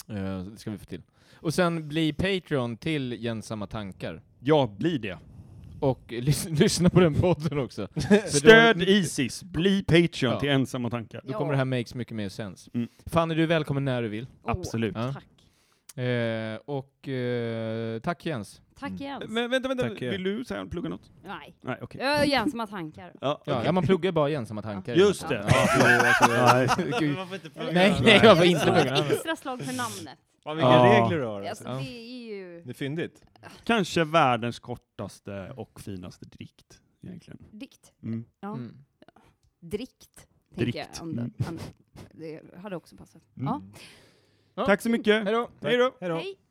A: Eh, det ska vi få till. Och sen bli Patreon till Jensamma tankar.
B: Ja, bli det.
A: Och eh, lys- lyssna på den podden också.
B: Stöd Isis, bli Patreon
A: Ja.
B: till ensamma tankar.
A: Då
C: Ja.
A: kommer det här makes mycket mer sens.
B: Mm.
A: Fanny, du är välkommen när du vill.
C: Åh,
B: Absolut.
A: Ja.
C: Tack.
A: Eh, och eh, tack Jens.
C: Tack
A: Mm.
C: Jens.
B: Men vänta, vänta,
D: Tack, ja.
B: vill du säga plugga något?
C: Nej,
B: Nej, okej.
C: jag är Jens som har tankar.
B: Ja,
A: Ja,
B: okej.
A: ja, man pluggar bara Jensamma tankar.
B: Just det. Ja,
A: Gud.
E: Varför inte
A: Nej, nej, jag var inte
C: Jag vill slå
A: plugga.
C: ett extra slag för namnet.
E: Vilka
B: Ja.
E: regler du har.
C: Alltså,
E: Alltså.
A: Ja.
C: Det är ju...
E: Det är fyndigt.
B: Kanske världens kortaste och finaste drikt, egentligen.
C: Dikt.
B: Mm.
C: Ja.
A: Mm.
C: Drikt. tänker
B: Drikt.
C: Jag, om det, om det. det hade också passat. Ja.
B: Tack så mycket.
A: Hej då.
B: Hej då.
E: Hej då.
C: Hej.